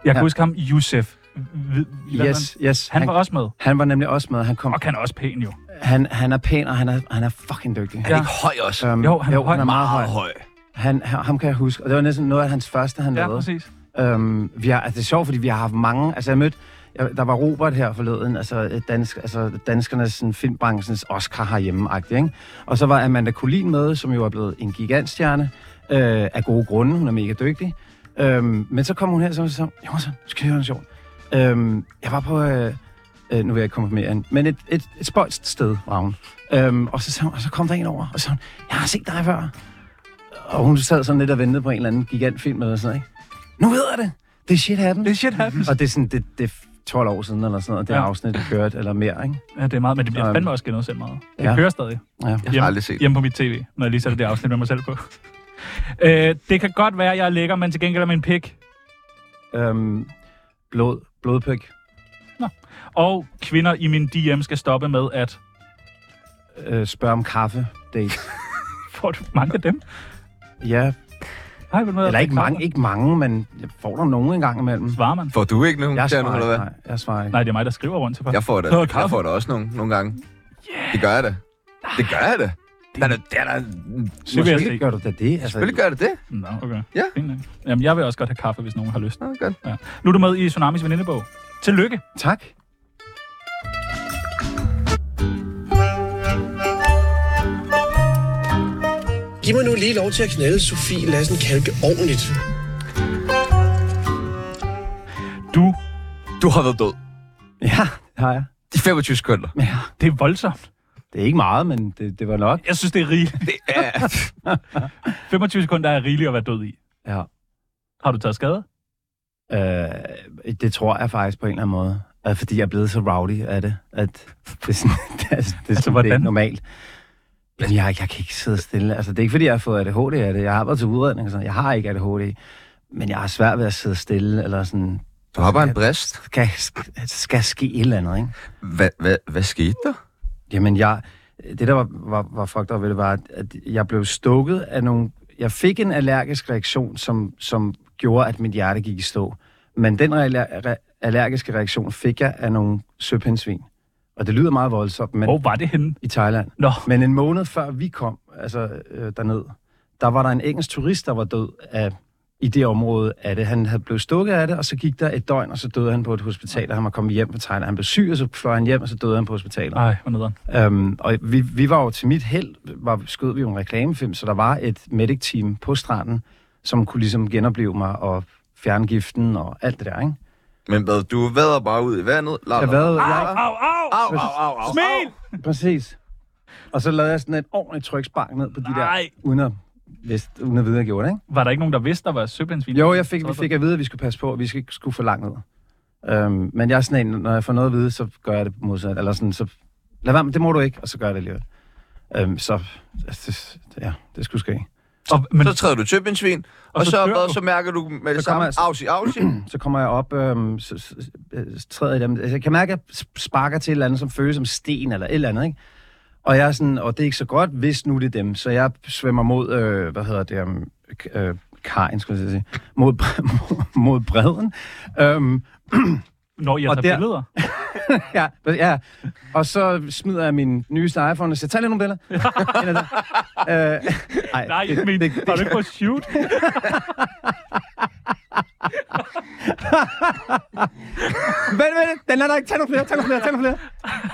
ja. Ja. huske ham, Youssef. Hvid- hvad Yes, yes. var Han, han var også med. han var nemlig også med. Han, kom, Og han er også pæn, jo. han, han er pæn, og han er, han er fucking dygtig. Er det ikke høj også? Um, Jo, han er høj. han er meget høj. Meget høj. Han, han, ham kan jeg huske, og det var næsten noget af hans første, han Ja, lavede. præcis. Øhm, vi har, altså, det er sjovt, fordi vi har haft mange... Altså, jeg mødte... Jeg, der var Robert her forleden, altså, øh, dansk, altså danskernes sådan, filmbranchens Oscar herhjemme ikke? Og så var Amanda Collin med, som jo er blevet en gigantstjerne øh, af gode grunde. Hun er mega dygtig. Øhm, men så kom hun her, og så var hun jo, så skal jeg høre noget sjovt. Øhm, jeg var på... Øh, øh, nu vil jeg ikke konfirmere hende, men et, et, et spøjst sted var hun. Øhm, og, så, sagde hun- og så kom der en over, og så sagde hun, jeg har set dig før. Og hun sad sådan lidt og ventede på en eller anden gigantfilm eller sådan noget, ikke? Nu ved jeg det! Det er shit happen. Det er shit happens. Og det er sådan, det, det er 12 år siden eller sådan noget, det Ja. ja. afsnit, der kørte, eller mere, ikke? Ja, det er meget, men det bliver Øhm. fandme også genudsendt meget. Det Ja. kører stadig. Ja. Jeg har Hjemme- aldrig set det. hjemme på mit tv, når jeg lige sætter det afsnit med mig selv på. Øh, det kan godt være, at jeg er lækker, men til gengæld er min pik. Øhm, blod, blodpæk. Og kvinder i min DM skal stoppe med at... Øh, spørg om kaffe. Date. Får du mange af dem? Ja, Hej, vil du med? eller ikke mange, ikke mange, men jeg får der nogen en gang imellem. Svarer man? Får du ikke nogen Jeg der nu, svarer eller hvad? ikke, nej, jeg svarer ikke. Nej, det er mig, der skriver rundt til folk. Jeg får da, Så er det jeg kaffe. får da også nogle, nogle gange. Yeah. Det gør jeg da. Det gør jeg da. Der er da, der er da Det vil jeg Selvfølgelig se. gør du da det. Altså, selvfølgelig gør det det. Nå, okay. Ja. Fint nok. Jamen, jeg vil også godt have kaffe, hvis nogen har lyst. Nå, godt. Ja. Nu er du med i Tsunamis venindebog. Tillykke. Tak. Giv mig nu lige lov til at knalde Sofie Lassen Kalke ordentligt. Du, Du har været død. Ja, det har jeg. De 25 sekunder. det er voldsomt. Det er ikke meget, men det, det var nok. Jeg synes, det er rigeligt. Det er... 25 sekunder er rigeligt at være død i. Ja. Har du taget skade? Øh, det tror jeg faktisk på en eller anden måde. Øh, Fordi jeg er blevet så rowdy af det, at det er sådan, det er, det er, sådan, det er hvordan? ikke normalt. Jamen, jeg, jeg kan ikke sidde stille. Altså, det er ikke, fordi jeg har fået ADHD af det. Jeg har været til udredning og sådan. Jeg har ikke ADHD. Men jeg har svært ved at sidde stille, eller sådan... Du har bare en brist. Skal, skal ske et eller andet, ikke? Hvad, hvad, hvad skete der? Jamen, jeg, det der var, var, var fucked up ved det, var, at- at jeg blev stukket af nogle... Jeg fik en allergisk reaktion, som, som gjorde, at mit hjerte gik i stå. Men den re- re- allergiske reaktion fik jeg af nogle søpindsvin. Og det lyder meget voldsomt, men Hvor var det henne? i Thailand. Nå, Men en måned før vi kom altså, øh, derned, der var der en engelsk turist, der var død af, i det område af det. Han havde blevet stukket af det, og så gik der et døgn, og så døde han på et hospital, og han var kommet hjem på Thailand. Han blev syg, og så fløj han hjem, og så døde han på hospitalet. nej, hvor nederen. Øhm, og vi, vi var jo til mit held, var, skød vi jo en reklamefilm, så der var et medic-team på stranden, som kunne ligesom genopleve mig og fjerne giften og alt det der, ikke? Men hvad, du vader bare ud i vandet. La, Jeg været, jeg, Au, au! Au, au, au, au. Smil! præcis. Og så lavede jeg sådan et ordentligt trykspark ned på de Nej. der, uden at, vidste, uden at vide, at jeg gjorde det, ikke? Var der ikke nogen, der vidste, der var søbindsvin? Jo, jeg fik, vi fik at vide, at vi skulle passe på, og vi skal ikke skulle for langt ned. Øhm, men jeg er sådan en, når jeg får noget at vide, så gør jeg det modsat. Eller sådan, så lad være med, det må du ikke, og så gør jeg det alligevel. Øhm, så, altså, det, ja, det skulle ske. Og, men, Så træder du til en svin, og, så så, dør hvad, du. så mærker du med det Så kommer samme, jeg- ausi, ausi. så kommer jeg op, øhm, så, så, øh, så træder jeg dem. Altså, jeg kan mærke, at jeg sp- sparker til et eller andet, som føles som sten eller et eller andet, ikke? Og jeg er sådan, og det er ikke så godt, hvis nu det er dem. Så jeg svømmer mod, øh, hvad hedder det, um, øh, kajen, skulle jeg til at sige, mod, bre- mod, mod bredden. Øhm, når jeg og tager der- billeder. ja, ja, og så smider jeg min nyeste iPhone og siger, tag lige nogle billeder. Ind ad der. øh, ej, Nej, men har du ikke på shoot? Vent, vent, den er der ikke. Tag nogle flere, tag nogle flere, tag nogle flere.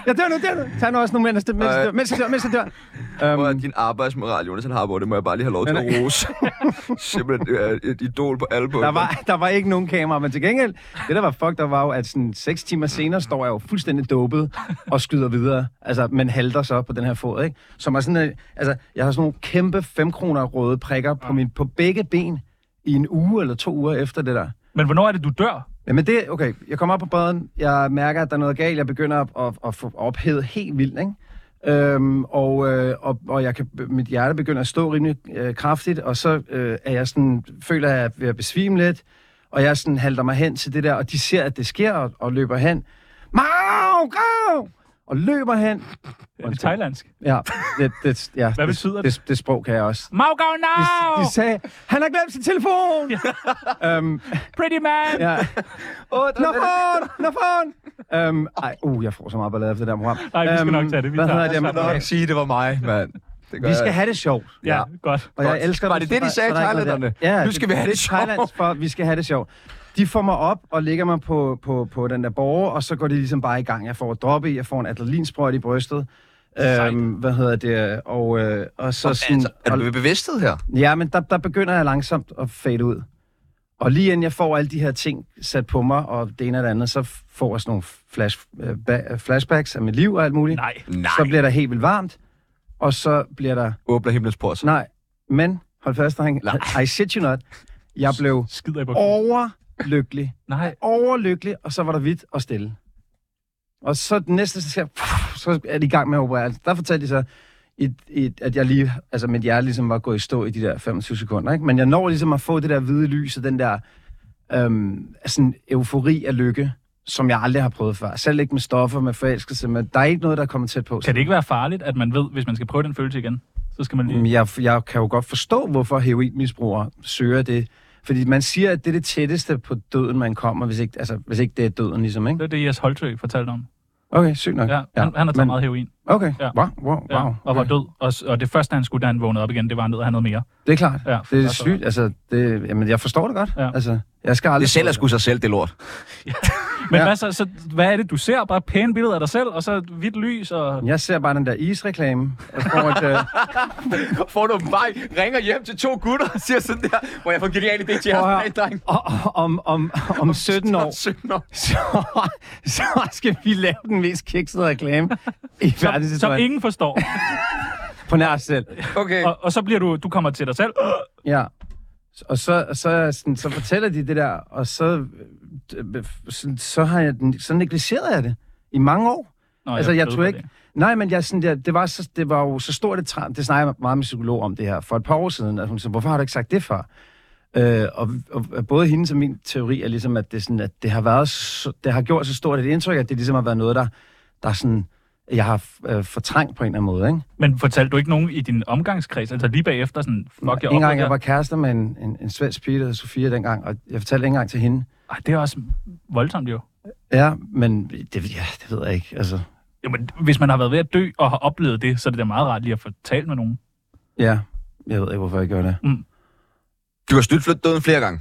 Jeg dør nu, dør nu. Tag nu også nogle mens jeg dør, mens jeg dør, mens jeg dør, mens jeg dør. Um, Øhm, og din arbejdsmoral, Jonas han har på, det må jeg bare lige have lov til at Men- rose. Simpelthen det er et idol på alle punkter. Der var, der var ikke nogen kamera, men til gengæld, det der var fuck, der var jo, at sådan seks timer senere står jeg jo fuldstændig dopet og skyder videre. Altså, man halter så på den her fod, ikke? Som er sådan, øh, altså, jeg har sådan nogle kæmpe 5 kroner røde prikker på, min, på begge ben i en uge eller to uger efter det der. Men hvornår er det, du dør? Jamen det, okay, jeg kommer op på bredden, jeg mærker, at der er noget galt, jeg begynder at, at, at få ophedet helt vildt, ikke? Øhm, og, øh, og, og jeg kan, mit hjerte begynder at stå rimelig øh, kraftigt, og så øh, er jeg sådan, føler jeg, at jeg er ved at besvime lidt, og jeg sådan halter mig hen til det der, og de ser, at det sker, og, og løber hen. Mau, gav! Og løber hen. Er det thailandsk? Ja, det, det, ja, Hvad betyder det? Det, det sprog kan jeg også. Maugau De, now! de sagde, han har glemt sin telefon! øhm, Pretty man! ja. Nafon! Nafon! Øhm, ej, uh, jeg får så meget ballade efter det der program. Nej, vi skal Øhm, nok tage det. Vi hvad tager- hedder det? Jeg må nok sige, det var mig, mand. Det gør Vi skal jeg. have det sjovt. Ja, godt. Og jeg Godt. elsker Var dem, det så det, de der- sagde, så der er ikke noget thailænderne? der. Ja, Nu skal vi have det er Thailands for, vi skal have det sjovt. De får mig op og lægger mig på, på, på den der borger, og så går de ligesom bare i gang. Jeg får et drop i, jeg får en adrenalinsprøjt i brystet. Øhm, hvad hedder det? Og, øh, og så sådan... Altså, er og- du ved bevidsthed her? Ja, men der, der begynder jeg langsomt at fade ud. Og lige inden jeg får alle de her ting sat på mig, og det ene og det andet, så får jeg sådan nogle flash, øh, ba- flashbacks af mit liv og alt muligt. Nej. Nej. Så bliver der helt vildt varmt, og så bliver der... Åbner himlens port. Nej, men hold fast, dreng. Nej. I shit you not. Jeg blev Skider i bukken. overlykkelig. Nej. Overlykkelig, og så var der hvidt og stille. Og så den næste, så, siger, jeg, så er de i gang med at operere. Altså, Der fortalte de så, i, i, at jeg lige, altså mit hjerte ligesom var gået i stå i de der 25 sekunder. Ikke? Men jeg når ligesom at få det der hvide lys og den der øhm, sådan eufori af lykke, som jeg aldrig har prøvet før. Selv ikke med stoffer, med forelskelse, men der er ikke noget, der kommer tæt på. Kan det ikke være farligt, at man ved, hvis man skal prøve den følelse igen, så skal man lige... Mm, Jeg, jeg kan jo godt forstå, hvorfor heroinmisbrugere søger det. Fordi man siger, at det er det tætteste på døden, man kommer, hvis ikke, altså, hvis ikke det er døden, ligesom, Det ikke? er det, Jes Holtø fortalte om. Okay, sygt nok. Ja, han, han har taget men- meget heroin. Okay, Ja. wow, wow, wow. Ja, og var okay. død. Og, s- og det første, han skulle, da han vågnede op igen, det var, at han nødt have noget mere. Det er klart. Ja, det er altså- sygt, altså, det, jamen, jeg forstår det godt. Ja. Altså, jeg skal aldrig... Det sælger sgu sig selv, det lort. Men Ja. ja. hvad, så, så, hvad er det, du ser? Bare pæne billeder af dig selv, og så hvidt lys, og... Jeg ser bare den der isreklame, og så får et, øh, Får du en vej, ringer hjem til to gutter og siger sådan der, hvor jeg får en genial idé til Prøv at høre. jeres dreng. og- og- om, om, om 17 år, Synd nok. så, så skal vi lave den mest kiksede reklame i Som, som verdenshistorien. ingen forstår. På nær os selv. Okay. Og, og så bliver du, du kommer til dig selv. Ja. Og så, og så, er jeg sådan, så fortæller de det der, og så, øh, så, så har jeg den, så negligerede jeg det i mange år. Nå, altså, jeg ved tror godt ikke... Nej, men jeg, sådan, det, det, var så, det var jo så stort et træn. Det snakker jeg meget med psykolog om det her for et par år siden. Altså, hun sagde, hvorfor har du ikke sagt det før? Øh, og, og, og, både hendes og min teori er ligesom, at det, sådan, at det, har, været så, det har gjort så stort et indtryk, at det ligesom har været noget, der, der sådan, jeg har øh, fortrængt på en eller anden måde. Ikke? Men fortalte du ikke nogen i din omgangskreds? Altså lige bagefter sådan, fuck, jeg en gang oplevede jeg var det kærester med en, en, en svensk pige, der hed Sofia dengang, og jeg fortalte ikke engang til hende. her." Ej, det er også voldsomt jo. Ja, men det, ja, det ved jeg ikke. Altså, Jamen, hvis man har været ved at dø og har oplevet det, så er det da meget rart lige at få talt med nogen. ja, jeg ved ikke, hvorfor jeg gjorde det. Du har stødt flyttet døden flere gange.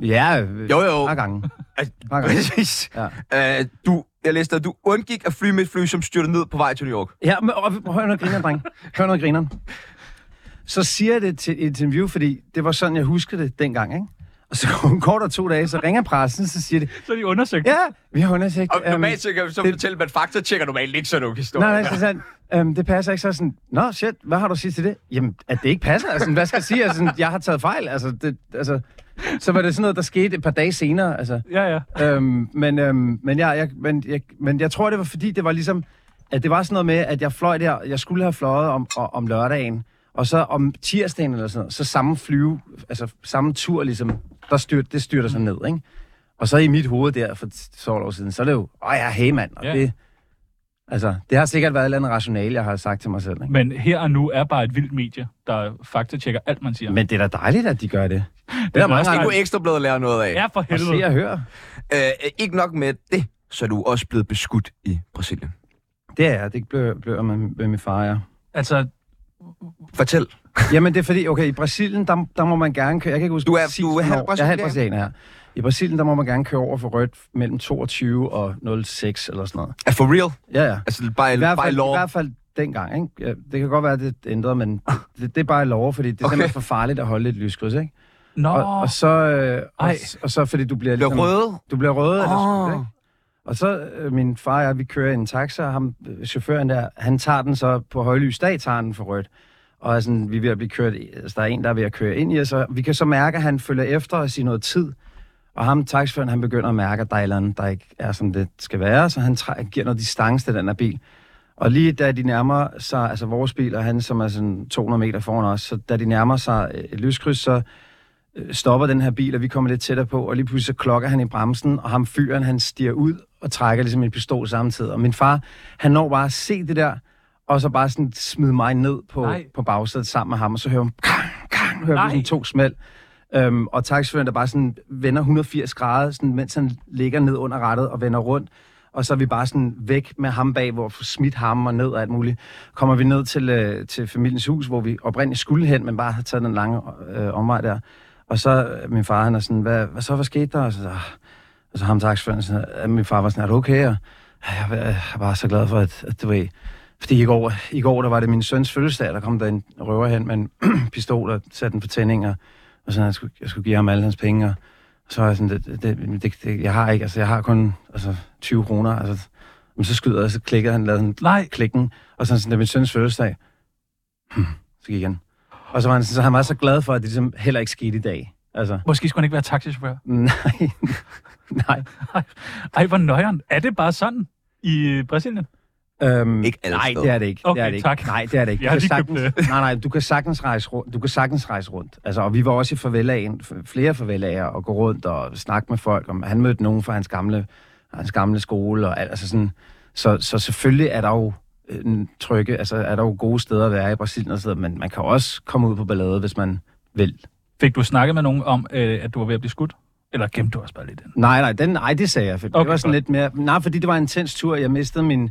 Ja, øh, Jo, jo. Par gange. Altså, Par gange. Præcis. Ja. Øh, du, jeg læste, at du undgik at fly med et fly, som styrte ned på vej til New York. Ja, men og, hør noget grineren, dreng. Hør noget grineren. Så siger jeg det til et interview, fordi det var sådan, jeg huskede det dengang, ikke? Og så går der to dage, så ringer pressen, så siger de, Så er de undersøgt. ja, vi har undersøgt. Og øhm, normalt så kan vi så det- fortælle, at man faktatjekker normalt ikke sådan nogle historier. Nej, nej, så sådan, øhm, det passer ikke. Så er jeg sådan, nå shit, hvad har du at sige til det? Jamen, at det ikke passer. Altså, hvad skal jeg sige? Altså, sådan, jeg har taget fejl. Altså, det, altså, så var det sådan noget, der skete et par dage senere. Altså, Ja, ja. øhm, men, øhm, men, jeg, jeg, men, jeg, men jeg tror, det var fordi, det var ligesom, at det var sådan noget med, at jeg fløj der, jeg skulle have fløjet om, og, om lørdagen, og så om tirsdagen eller sådan noget, så samme flyve, altså samme tur ligesom, der styrt, det styrter sig ned, ikke? Og så i mit hoved der for t- så år siden, så er det jo, åh ja, hey mand, og Ja. det, altså, det har sikkert været et eller andet rationale, jeg har sagt til mig selv, ikke? Men her og nu er bare et vildt medie, der faktatjekker alt, man siger. Men det er da dejligt, at de gør det. Det er er der mange også Det gange, kunne Ekstrabladet lære noget af. Ja, for at se helvede. og høre. Øh, ikke nok med det, så er du også blevet beskudt i Brasilien. Det er jeg, det blev, blev jeg med, med min far, ja. Altså, Fortæl. Jamen, det er fordi, okay, i Brasilien, der, der må man gerne køre. Jeg kan ikke huske Du er- præcis, du er halv hvornår- Jeg er halv brasilianer. brasilianer, ja. I Brasilien, der må man gerne køre over for rødt mellem 22 og 06 eller sådan noget. Er for real? Ja, ja. Altså, by, I hvert by fald, law? I hvert fald dengang, ikke? Ja, Det kan godt være, at det ændrer, men det, det er bare lov, fordi det er okay. simpelthen for farligt at holde et lyskryds, ikke? Nå, Og, og, så, øh, og, Ej. og så fordi du bliver Bliver ligesom... røde? Du bliver røde eller Åh. sådan noget, ikke? Og så øh, min far og jeg, vi kører i en taxa, og ham, øh, chaufføren der, han tager den så på højlys dag, tager han for rødt. Og er sådan, vi er ved at blive kørt, i- altså, der er en, der er ved at køre ind i os, og vi kan så mærke, at han følger efter os i noget tid. Og ham, taxiføren, han begynder at mærke, at der er et eller andet, der ikke er, som det skal være, så han træ- giver noget distance til den her bil. Og lige da de nærmer sig, altså vores bil og han, som er sådan 200 meter foran os, så da de nærmer sig øh, et lyskryds, så øh, stopper den her bil, og vi kommer lidt tættere på, og lige pludselig så klokker han i bremsen, og ham fyren, han stiger ud og trækker ligesom en pistol samtidig. Og min far, han når bare at se det der, og så bare sådan smide mig ned på, Nej. på bagsædet sammen med ham, og så hører man, kang, kang, hører Nej. vi sådan to smæld. Øhm, og taxichaufføren, der bare sådan vender 180 grader, sådan, mens han ligger ned under rattet og vender rundt. Og så er vi bare sådan væk med ham bag, hvor vi får smidt ham og ned og alt muligt. Kommer vi ned til, øh, til familiens hus, hvor vi oprindeligt skulle hen, men bare har taget den lange øh, omvej der. Og så øh, min far, han er sådan, hvad, hvad så, hvad skete der? Og så, "Ah." og så ham taxichaufføren, sådan, "Ja, min far var sådan, er du okay? Og, "Ja, jeg, jeg er bare så glad for, at, at du ved, fordi i går, i går, der var det min søns fødselsdag, der kom der en røver hen med en pistol og satte den på tænding, og, og sådan, jeg skulle, jeg skulle give ham alle hans penge, og så var jeg sådan, det, det, det, det, jeg har ikke, altså jeg har kun altså, 20 kroner, altså, men så skyder jeg, og så klikker han, lavede han Nej. klikken, og sådan, sådan, det er min søns fødselsdag. Hmm, så gik han. Og så var han, sådan, så han var så glad for, at det ligesom heller ikke skete i dag. Altså, Måske skulle han ikke være taxichauffør. nej, nej. Ej, hvor nøjeren. Er det bare sådan i øh, Brasilien? Øhm, Ikke alle nej, steder. det er det ikke. Okay, det er det ikke. tak. Nej, det er det ikke. Jeg har lige købt, sagtens, nej, nej, du kan sagtens rejse rundt. Du kan sagtens rejse rundt. Altså, og vi var også i favelaen, f- flere favelaer, og gå rundt og snakke med folk. Om, han mødte nogen fra hans gamle, hans gamle skole. Og, alt, altså sådan, så, så selvfølgelig er der jo øh, en trygge, altså er der jo gode steder at være i Brasilien og sådan noget, men man kan også komme ud på ballade, hvis man vil. Fik du snakket med nogen om, øh, at du var ved at blive skudt? Eller gemte du også bare lidt den? Nej, nej, den, nej det sagde jeg. For okay, Okay, det var sådan godt. lidt mere... Nej, fordi det var en intens tur. Jeg mistede min...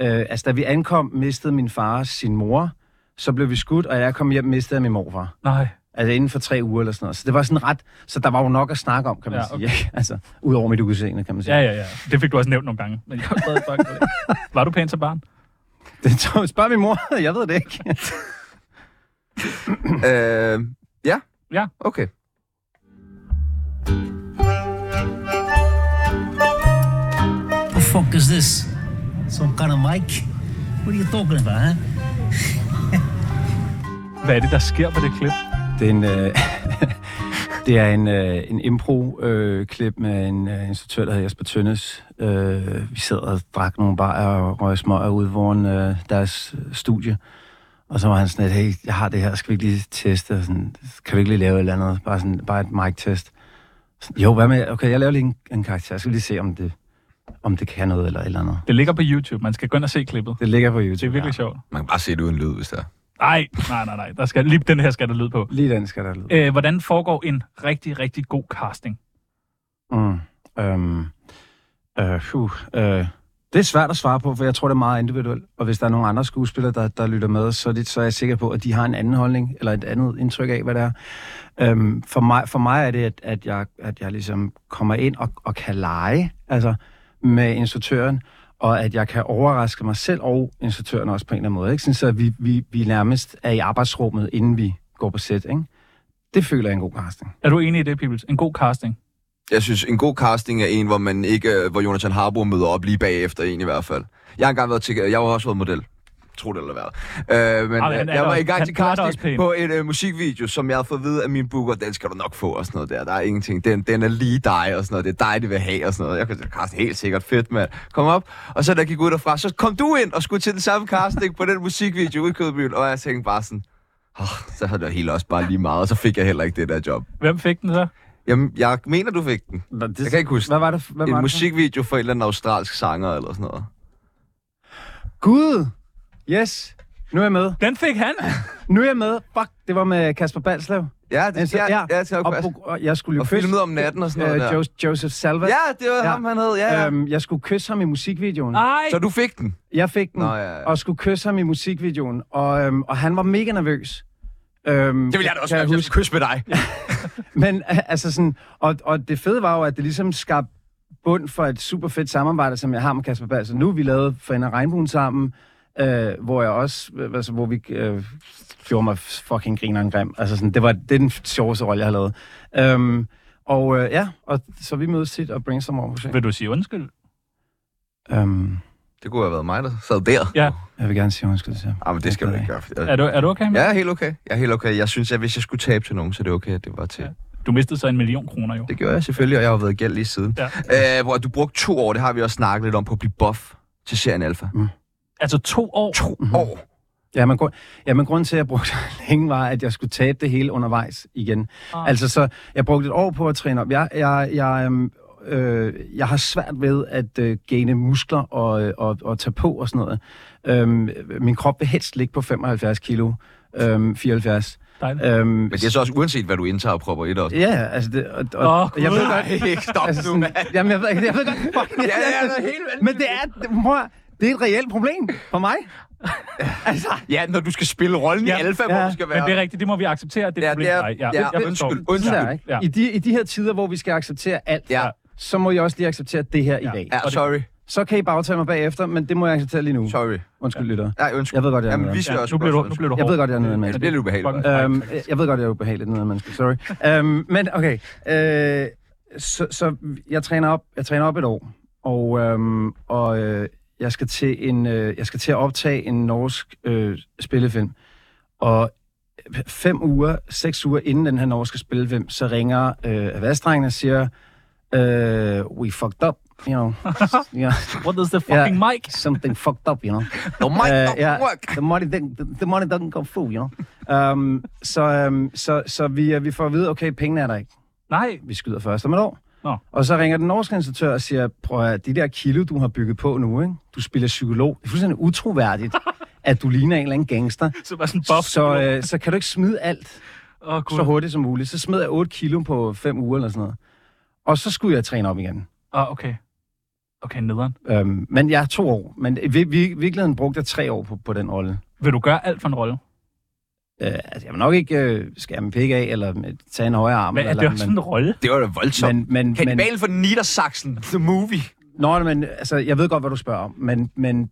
Øh, altså, da vi ankom, mistede min far sin mor. Så blev vi skudt, og da jeg kom hjem, mistede jeg min morfar. Nej. Altså inden for tre uger eller sådan noget. Så det var sådan ret... Så der var jo nok at snakke om, kan man Ja, ja, okay. sige. ikke? Altså, udover mit udseende, kan man sige. Ja, ja, ja. Det fik du også nævnt nogle gange. Men jeg var, stadig bare glad. var du pæn som barn? Det, så spørg min mor, jeg ved det ikke. Øh, ja? Ja. Okay. The fuck is this? Some kind of mic? What are you talking about, huh? Hvad er det, der sker på det klip? Det er en, øh, det er en, øh, en impro-klip øh, klip med en øh, instruktør, der hedder Jesper Tønnes. Øh, vi sad og drak nogle bajer og røg smøger ude foran øh, deres studie. Og så var han sådan lidt, hey, jeg har det her, skal vi ikke lige teste? Og Sådan, kan vi ikke lige lave et eller andet? Bare, sådan, bare et mic-test. Sådan, jo, hvad med, okay, jeg laver lige en, en karakter. Jeg skal lige se, om det, om det kan noget eller et eller andet. Det ligger på YouTube. Man skal gå ind og se klippet. Det ligger på YouTube. Det er virkelig ja. sjovt. Man kan bare se det uden lyd, hvis der. Nej, nej, nej, nej. Der skal, lige den her skal der lyd på. Lige den skal der lyde. Øh, hvordan foregår en rigtig, rigtig god casting? Mm. Øhm. Øh, puh, øh. Det er svært at svare på, for jeg tror, det er meget individuelt. Og hvis der er nogle andre skuespillere, der, der lytter med, så er, det, så er jeg sikker på, at de har en anden holdning, eller et andet indtryk af, hvad det er. Øhm, for, mig, for mig er det, at, at, jeg, at jeg ligesom kommer ind og, og kan lege altså, med instruktøren, og at jeg kan overraske mig selv og instruktøren også på en eller anden måde. Ikke? Sådan, så vi, vi, vi nærmest er i arbejdsrummet, inden vi går på sæt. Ikke? Det føler jeg er en god casting. Er du enig i det, Peoples? En god casting? Jeg synes, en god casting er en, hvor man ikke, øh, hvor Jonathan Harbour møder op lige bagefter en i hvert fald. Jeg har engang været til, jeg har også været model. Tro det eller hvad. Øh, men Ej, men Ej, han er jeg var da- i gang han til er da også casting pæn. på en øh, musikvideo, som jeg havde fået at vide af min booker, den skal du nok få og sådan noget der. Der er ingenting. Den, den er lige dig og sådan noget. Det er dig, det vil have og sådan noget. Jeg kunne sige, Carsten, helt sikkert fedt, mand. Kom op. Og så da jeg gik ud derfra, så kom du ind og skulle til den samme casting på den musikvideo ude i Kødbyen. Og jeg tænkte bare sådan, oh, så havde jeg helt også bare lige meget, og så fik jeg heller ikke det der job. Hvem fik den så? Jamen, jeg mener, du fik den. Det, Jeg kan ikke huske Hvad var det? Hvad var en det? musikvideo for en eller anden australsk sanger eller sådan noget. Gud! Yes, nu er jeg med. Den fik han! Nu er jeg med. Fuck, det var med Kasper Balslev. Ja, det, ja, ja, ja, til Altså, og, og, pro- og jeg skulle jo og kysse- filmet om natten og sådan noget øh, der. Jo- Joseph Salva. Ja, det var ja. ham, han hed. Ja, ja. Øhm, Øhm, jeg skulle kysse ham i musikvideoen. Nej! så du fik den? Jeg fik den, Nå, ja, ja. og skulle kysse ham i musikvideoen. Og, øhm, og han var mega nervøs. Øhm, Det ville jeg da også, jeg, jeg skulle kysse med dig. Men altså sådan, og, og det fede var jo, at det ligesom skabte bund for et super fedt samarbejde, som jeg har med Kasper Berg. Så nu har vi lavet Forænder Regnbuen sammen, øh, hvor jeg også, øh, altså, hvor vi øh, gjorde mig fucking grineren grim. Altså sådan, det var det er den sjoveste rolle, jeg har lavet. Øhm, og øh, ja, og, så vi mødes tit og brainstormer over projektet. Vil du sige undskyld? Øhm, Det kunne have været mig, der sad der. Ja. jeg vil gerne sige undskyld til jer. Ah, men det skal du ikke gøre. for Jeg, Er du, er du okay med jeg er helt okay. Jeg er helt okay. Jeg synes, at hvis jeg skulle tabe til nogen, så er det okay, at det var til. Du mistede så en million kroner jo. Det gjorde jeg selvfølgelig, og jeg har jo været i gæld lige siden. Ja. Øh, hvor du brugte to år, det har vi også snakket lidt om, på at blive buff til serien Alpha. Mm. Altså to år. To Mm-hmm. år. Ja, men, grund, ja, men grunden til, at jeg brugte længe, var, at jeg skulle tabe det hele undervejs igen. Ah. Ah. Altså, så jeg brugte et år på at træne op. Jeg, jeg, jeg, øhm, øh, jeg har svært ved at øh, gaine muskler og, øh, og, og tage på og sådan noget. Øhm, min krop vil helst ligge på 75 kilo, øhm, 74. Dejligt. Øhm, Men det er så også uanset, hvad du indtager og propper i dig. Ja, ja, altså det... Og, og, Åh, jeg ved Gud. godt, Ikke stop altså nu, sådan, mand. jamen, jeg ved, jeg ved godt, fucking, Ja, ja, det er helt vanvittigt. men det er, prøv, at- det er et reelt problem for mig. altså, Ja, når du skal spille rollen ja. i Alpha, ja. hvor Ja. du skal være... Men det er rigtigt, det må vi acceptere. Det er Ja, et problem det er- for dig. ja, jeg forstår. undskyld, Sådan undskyld. der, ikke? Ja. I, de, I de her tider, hvor vi skal acceptere alt, Ja. så må I også lige acceptere det her Ja. i dag. Ja, sorry. Så kan I bagtage mig bagefter, men det må jeg acceptere lige nu. Sorry. Undskyld, lytter. Nej, undskyld. Jeg ved godt, jeg er Jamen, noget vi andet. skal Ja, også nu blev blot- du, nu blev du Jeg hård. ved godt, jeg er noget med. Det bliver lidt ubehageligt. Fucking- Øhm, jeg ved godt, jeg er ubehageligt noget menneske, sorry. øhm, men okay, øh, så, så jeg, træner op, jeg træner op et år, og, øhm, og øh, jeg, skal til en, øh, jeg skal til at optage en norsk øh, spillefilm. Og fem uger, seks uger inden den her norske spillefilm, så ringer øh, vastrengene og siger, øh, we fucked up, you know. yeah, What is the fucking Ja. mic? something fucked up, you know. No, mic Øh, don't ja, work. The money, didn't- the, the money doesn't come through, you know. Um, så um, så, så vi, øh, vi får at vide, okay, pengene er der ikke. Nej, Vi skyder først om et år. Nå. Og så ringer den norske instruktør og siger, prøv at høre, de der kilo, du har bygget på nu, ikke? du spiller psykolog. Det er fuldstændig utroværdigt, at du ligner en eller anden gangster. så var sådan en buff. Så, øh, så kan du ikke smide alt Åh, Gud. så hurtigt som muligt. Så smed jeg 8 kilo på 5 uger eller sådan noget. Og så skulle jeg træne op igen. Ah, okay. Okay, nederen. Øhm, men jeg ja, to år. Men i vi, vi, i virkeligheden brugte jeg tre år på, på den rolle. Vil du gøre alt for en rolle? Øh, altså, jeg vil nok ikke øh, skære min pik af, eller øh, tage en højere arm. Hvad er eller, det også sådan en rolle? Det var da voldsomt. men, men, men, men, Kanibal for Niedersachsen, the movie. nå, men altså, jeg ved godt, hvad du spørger om, men, men,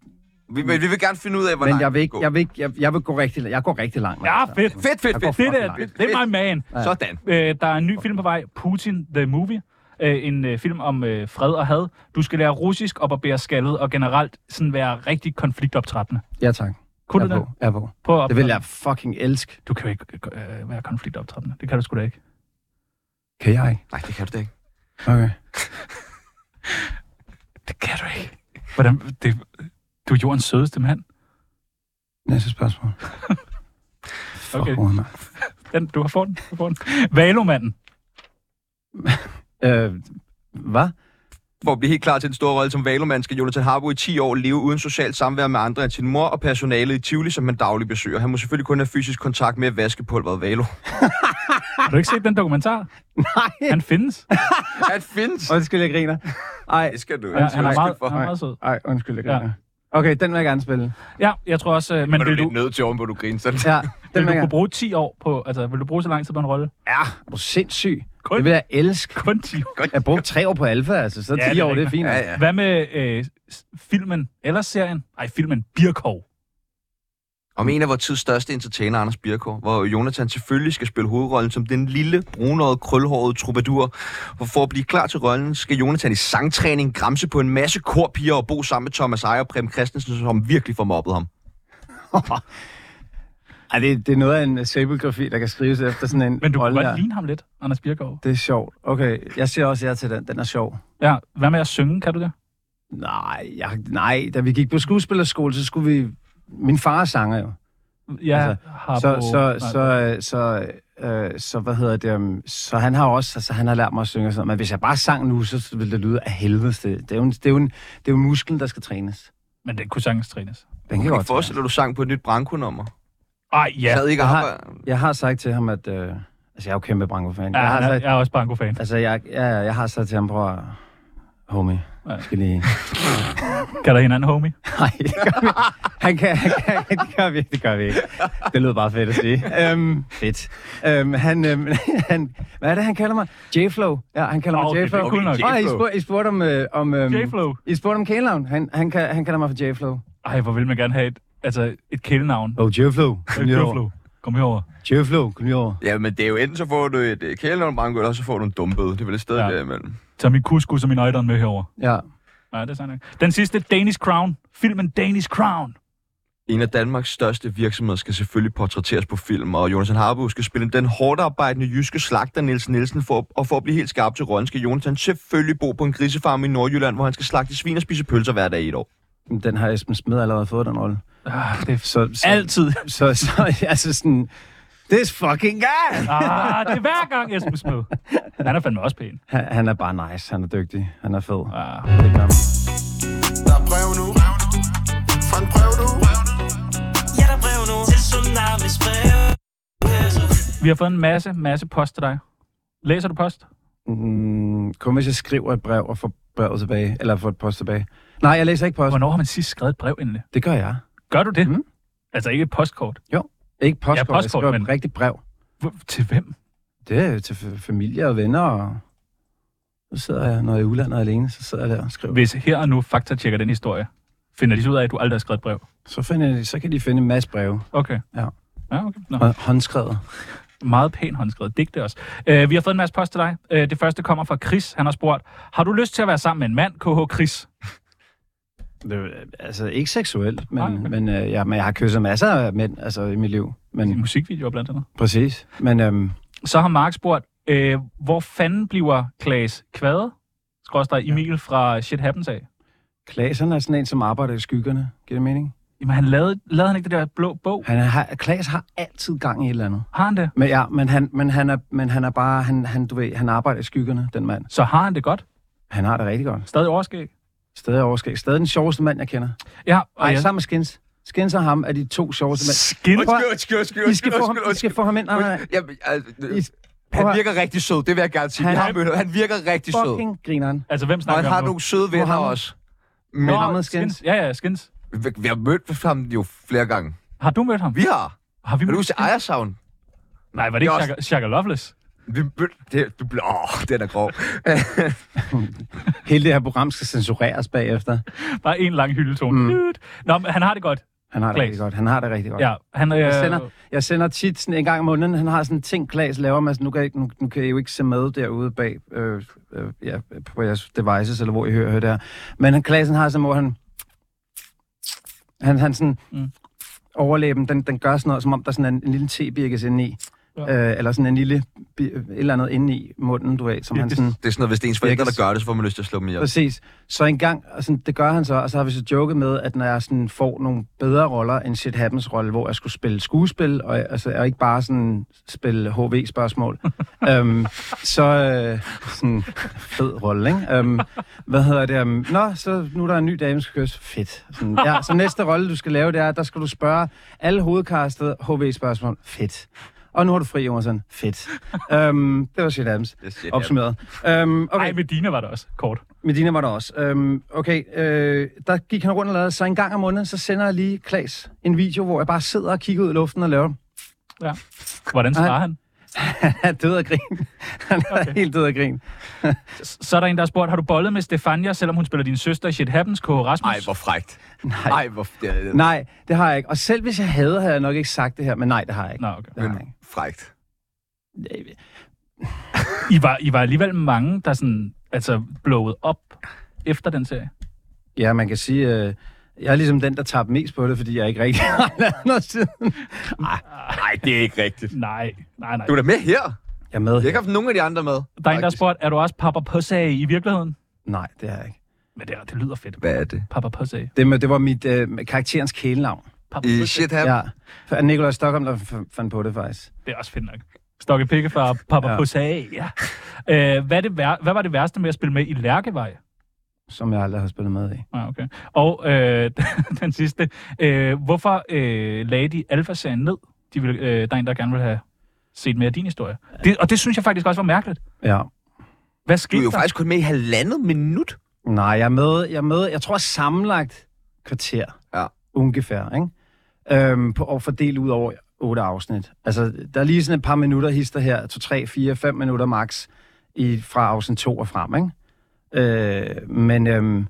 Vi, men vi vil gerne finde ud af, hvor men langt jeg, vil vi ikke, går. jeg, vil ikke, jeg, jeg vil gå rigtig, la- jeg går rigtig langt. altså. med Ja, det her. fedt. Fedt, fedt, Jeg går fedt. Det, der, fucking det, langt. det er my man. Sådan. Øh, der er en ny film på vej, Putin the Movie. Øh, en øh, film om øh, fred og had. Du skal lære russisk og barbere skaldet, og generelt sådan være rigtig konfliktoptrappende. Ja, tak. Kunne jeg du er det? på. Jeg er på. På at- Det vil jeg fucking elske. Du kan jo ikke øh, være konfliktoptrappende. Det kan du sgu da ikke. Kan jeg ikke? Nej, det kan du da ikke. Okay. Det kan du ikke. Hvordan, det, du er jordens sødeste mand. Næste spørgsmål. Fuck, Okay. hvor er man. Den, du har fået den. Du får den. Valomanden. Øh, hvad? For at blive helt klar til den store rolle som valomand, skal Jonathan Harbo i 10 år leve uden socialt samvær med andre end sin mor og personalet i Tivoli, som han dagligt besøger. Han må selvfølgelig kun have fysisk kontakt med at vaske pulveret valo. Har du ikke set den dokumentar? Nej. Han findes. Han findes. Undskyld, jeg griner. Ej, Det skal du Ja, han, er meget, for. han er meget sød. ej, undskyld, jeg Ja. griner. Okay, den vil jeg gerne spille. Ja, jeg tror også... øh, Men Men du er vil lidt du, nødt til oven, hvor du griner sådan. Ja, den vil vil du jeg kunne gerne. bruge 10 år på... Altså, vil du bruge så lang tid på en rolle? Ja, du er sindssyg. Kun- Det vil jeg elske. Kun 10 år. Jeg brugte tre år på alfa, altså, så Ja, ja, 10 det er år, det er rigtigt. fint. Ja, Ja, ja. Hvad med øh, s- filmen eller serien? Nej, filmen Birkov. Om en af vores tids største entertainer, Anders Birkår, hvor Jonathan selvfølgelig skal spille hovedrollen som den lille, brunårede, krølhårede troubadour. Og for at blive klar til rollen, skal Jonathan i sangtræning gramse på en masse korpiger og bo sammen med Thomas Ejer og Prem Christensen, som virkelig får mobbet ham. Ej, det, det er noget af en øh, sabelgrafi, der kan skrives efter sådan en Men du rolle kunne der. godt ligne ham lidt, Anders Birkov. Det er sjovt. Okay, jeg siger også ja til den. Den er sjov. Ja, hvad med at synge? Kan du det? Nej, jeg, nej, da vi gik på skuespillerskole, så skulle vi... Min far er sanger jo. Jeg Altså, har så, på... så, nej, så, øh, så, øh, så, hvad hedder det, um, så han har også, altså, han har lært mig at synge og sådan noget. Men hvis jeg bare sang nu, så ville det lyde af helvede. Det er jo en, det er jo en, det er jo en muskel, der skal trænes. Men den kunne sagtens trænes. Den kan Jeg godt kan forestille dig, at du sang på et nyt brankonummer. Ej, ja. Sad ikke jeg har- arbejde. Jeg har sagt til ham, at... Øh, altså, jeg er jo kæmpe Branko-fan. Ja, jeg har han er, sagt, jeg er også Banko-fan. Altså, jeg, jeg, jeg har sagt til ham, prøv at- homie, Ja. jeg skal lige... Kalder hinanden homie. Nej, det gør vi ikke. Han kan, han kan, det, gør vi, ikke, det gør vi ikke. Det lød bare fedt at sige. Øhm, fedt. Øhm, han, øhm, han, hvad er det, han kalder mig? J-Flow. Ja, han kalder mig Åh, det er J-Flow. cool nok. Åh, I, spurg, I spurgte om... Øh, om øhm, J-Flow. I spurgte om kælenavn. Han, han, kan, han kalder mig for J-Flow. Ej, hvor vil man gerne have et, altså et kælenavn. Oh, J-Flow. Kom lige over. Døflo. Kom herover. J-Flow, kom lige over. Ja, men det er jo enten så får du et øh, kælenavn banko, eller så får du en dumbøde. Det er vel et sted Ja. ja. derimellem. Tag min kuskus og min øjderen med herover. Ja. Ja, det er sådan. Den sidste, Danish Crown. Filmen Danish Crown. En af Danmarks største virksomheder skal selvfølgelig portrætteres på film, og Jonathan Harbo skal spille den hårdt arbejdende jyske slagter Niels Nielsen, for, og for at blive helt skarp til rollen, skal Jonathan selvfølgelig bo på en grisefarm i Nordjylland, hvor han skal slagte svin og spise pølser hver dag i et år. Den har Esben Smed allerede fået, den rolle. Ah, det er Så, så, altid. så, så, altså sådan... This fucking guy! Ah, det er hver gang Esben Smed. Han er fandme også pæn. Han, han er bare nice. Han er dygtig. Han er fed. Ah. Det gør man. Der er brev nu. Fra en brev nu. Ja, der er brev nu til Tsunamis brev. Vi har fået en masse, masse post til dig. Læser du post? Mm, kun hvis jeg skriver et brev og får brevet tilbage, eller får et post tilbage. Nej, jeg læser ikke post. Hvornår har man sidst skrevet et brev endelig? Det gør jeg. Gør du det? Mm. Altså ikke et postkort. Ikke postkort, ja, postkort, postkort jeg skriver men- et rigtigt brev. Hvor- Til hvem? Det er til f- familie og venner, og så sidder jeg, når jeg er i udlandet alene, så sidder jeg der og skriver. Hvis her og nu faktatjekker den historie, finder de så ud af, at du aldrig har skrevet et brev? Så, finder de, så kan de finde en masse breve, Okay. Ja. Ja, okay. Nå. og håndskrevet. Meget pæn håndskrevet digte også. Øh, vi har fået en masse post til dig. Øh, det første kommer fra Chris. Han har spurgt, har du lyst til at være sammen med en mand, KH Chris? Det, er jo, altså, ikke seksuelt, men, Nej, men... men- Men, øh, ja, men jeg har kysset masser af mænd altså, i mit liv. I Men, musikvideoer blandt andet. præcis. Men øhm, Så har Mark spurgt, øh, hvor fanden bliver Klaas Kvade? Skråstrej Emil fra Shit Happens af. Klaserne er sådan en, som arbejder i skyggerne. Giver det mening? Jamen, han lavede, lavede han ikke det der blå bog? Han har, Klaas har altid gang i et eller andet. Har han det? Men ja, men han, men han, er, men han er bare, han, han, du ved, han arbejder i skyggerne, den mand. Så har han det godt. Han har det rigtig godt. Stadig overskæg. Stadig overskæg. Stadig den sjoveste mand, jeg kender. Ja, og Ej, jeg, sammen med Skins. Skins og ham er de to sjoveste mænd. skin. Prøv at- undskyld, undskyld, I skal få ham, I skal få ham ind. Nej, nej, nej. Jamen, altså, I, prøv han at- virker rigtig sød, det vil jeg gerne sige. Han Han, er- har mødt, ham. han virker rigtig sød. Fucking grineren. Altså, hvem Og snakker han har om nu? nogle søde venner Mohammed. også. Nå, Men Mohammed Skins. Skins. Ja, ja, Skins. vi, vi har mødt ham jo flere gange. Har du mødt ham? Vi har. Har vi Har du mødt huske Skins? Ejersavn? Nej, var det ikke Det er Shaka, Shaka Loveless? Vi mødte... Det, du blev... Åh, den er grov. Hele det her program skal censureres bagefter. Bare en lang hyldetone. Mm. Nå, men han har det godt. Han har det Klaas. rigtig godt. Han har det rigtig godt. Ja, han, øh, Jeg sender, jeg sender tit sådan en gang om måneden, han har sådan en ting, Klaas laver, men altså, nu, kan, I- nu, nu kan I jo ikke se med derude bag øh, øh, ja, på jeres devices, eller hvor I hører, hører det her. Men han, Klaas, han har sådan, hvor han, han, han sådan, Mm. mm. overlæben, den, den gør sådan noget, som om der er sådan en, en lille tebirkes inde i. Ja. Ja. Øh, eller sådan en lille, bi- et eller andet inde i munden, du ved, som han sådan... Det er sådan noget, hvis det er ens forældre, der gør det, så får man lyst til at slå dem ihjel. Præcis. Så en gang, og sådan, det gør han så, og så har vi så joket med, at når jeg sådan får nogle bedre roller end Shit Happens rolle, hvor jeg skulle spille skuespil, og, altså, og ikke bare sådan spille HV-spørgsmål, øhm, så øh, sådan fed rolle, ikke? Øhm, hvad hedder det? Um, Nå, så nu er der en ny dame, du skal kysse. Fedt. Sådan, ja, så næste rolle, du skal lave, det er, der skal du spørge alle hovedkastet HV-spørgsmål. Fedt. Og nu har du fri, Jonathan. Fedt. øhm, det var Shit Happens. Det er shit, ja. Opsummeret. Øhm, okay. Ej, med dine var det også kort. Medina var der også. Øhm, okay, øh, der gik han rundt og lavede, så en gang om måneden, så sender jeg lige Klaas en video, hvor jeg bare sidder og kigger ud i luften og laver Ja. Hvordan svarer Ej. han? Han er død af grin. Han er okay. helt død af grin. Så er der en, der har spurgt, har du bollet med Stefania, selvom hun spiller din søster i Shit Happens, KH Rasmus? Ej, hvor frægt. Nej. Ej, hvor... Det er, nej. Nej, det har jeg ikke. Og selv hvis jeg havde, havde jeg nok ikke sagt det her, men nej, det har jeg ikke. Nå, okay. Det har jeg ikke. Frægt. I var, I var alligevel mange, der sådan, altså, blowet op efter den serie. Ja, man kan sige, øh, jeg er ligesom den, der tabte mest på det, fordi jeg ikke rigtig har lavet noget siden. Nej, det er ikke rigtigt. Nej, nej, nej. Du er da med her. Jeg er med. Jeg har ikke haft nogen af de andre med. Der er en, der har spurgt, er du også Papa Pussy i virkeligheden? Nej, det har jeg ikke. Men det, er- det lyder fedt. Hvad er det? Papa Pussy. Det, med, det var mit øh, karakterens kælenavn. Papa I Pussy. Øh, shit her. Ja. Ja. For Nikolaj Stockholm, der f- fandt på det faktisk. Det er også fedt nok. Stokke Pikke fra Papa ja. Ja. Pussy. Ja. Øh, hvad, er det vær- hvad var det værste med at spille med i Lærkevej? Som jeg aldrig har spillet med i. Ah, okay. Og øh, den sidste. Øh, hvorfor øh, lagde de Alfa-serien ned? De ville, øh, der er en, der gerne vil have set mere af din historie. Det, og det synes jeg faktisk også var mærkeligt. Ja. Hvad Du skete er jo der? faktisk kun med i halvandet minut. Nej, jeg er med, jeg er med, jeg tror sammenlagt kvarter. Ja. Ungefær, ikke? Øhm, på, og fordelt ud over otte afsnit. Altså, der er lige sådan et par minutter hister her, to, tre, fire, fem minutter max, i, fra afsnit to og frem, ikke? Øh, men, øhm,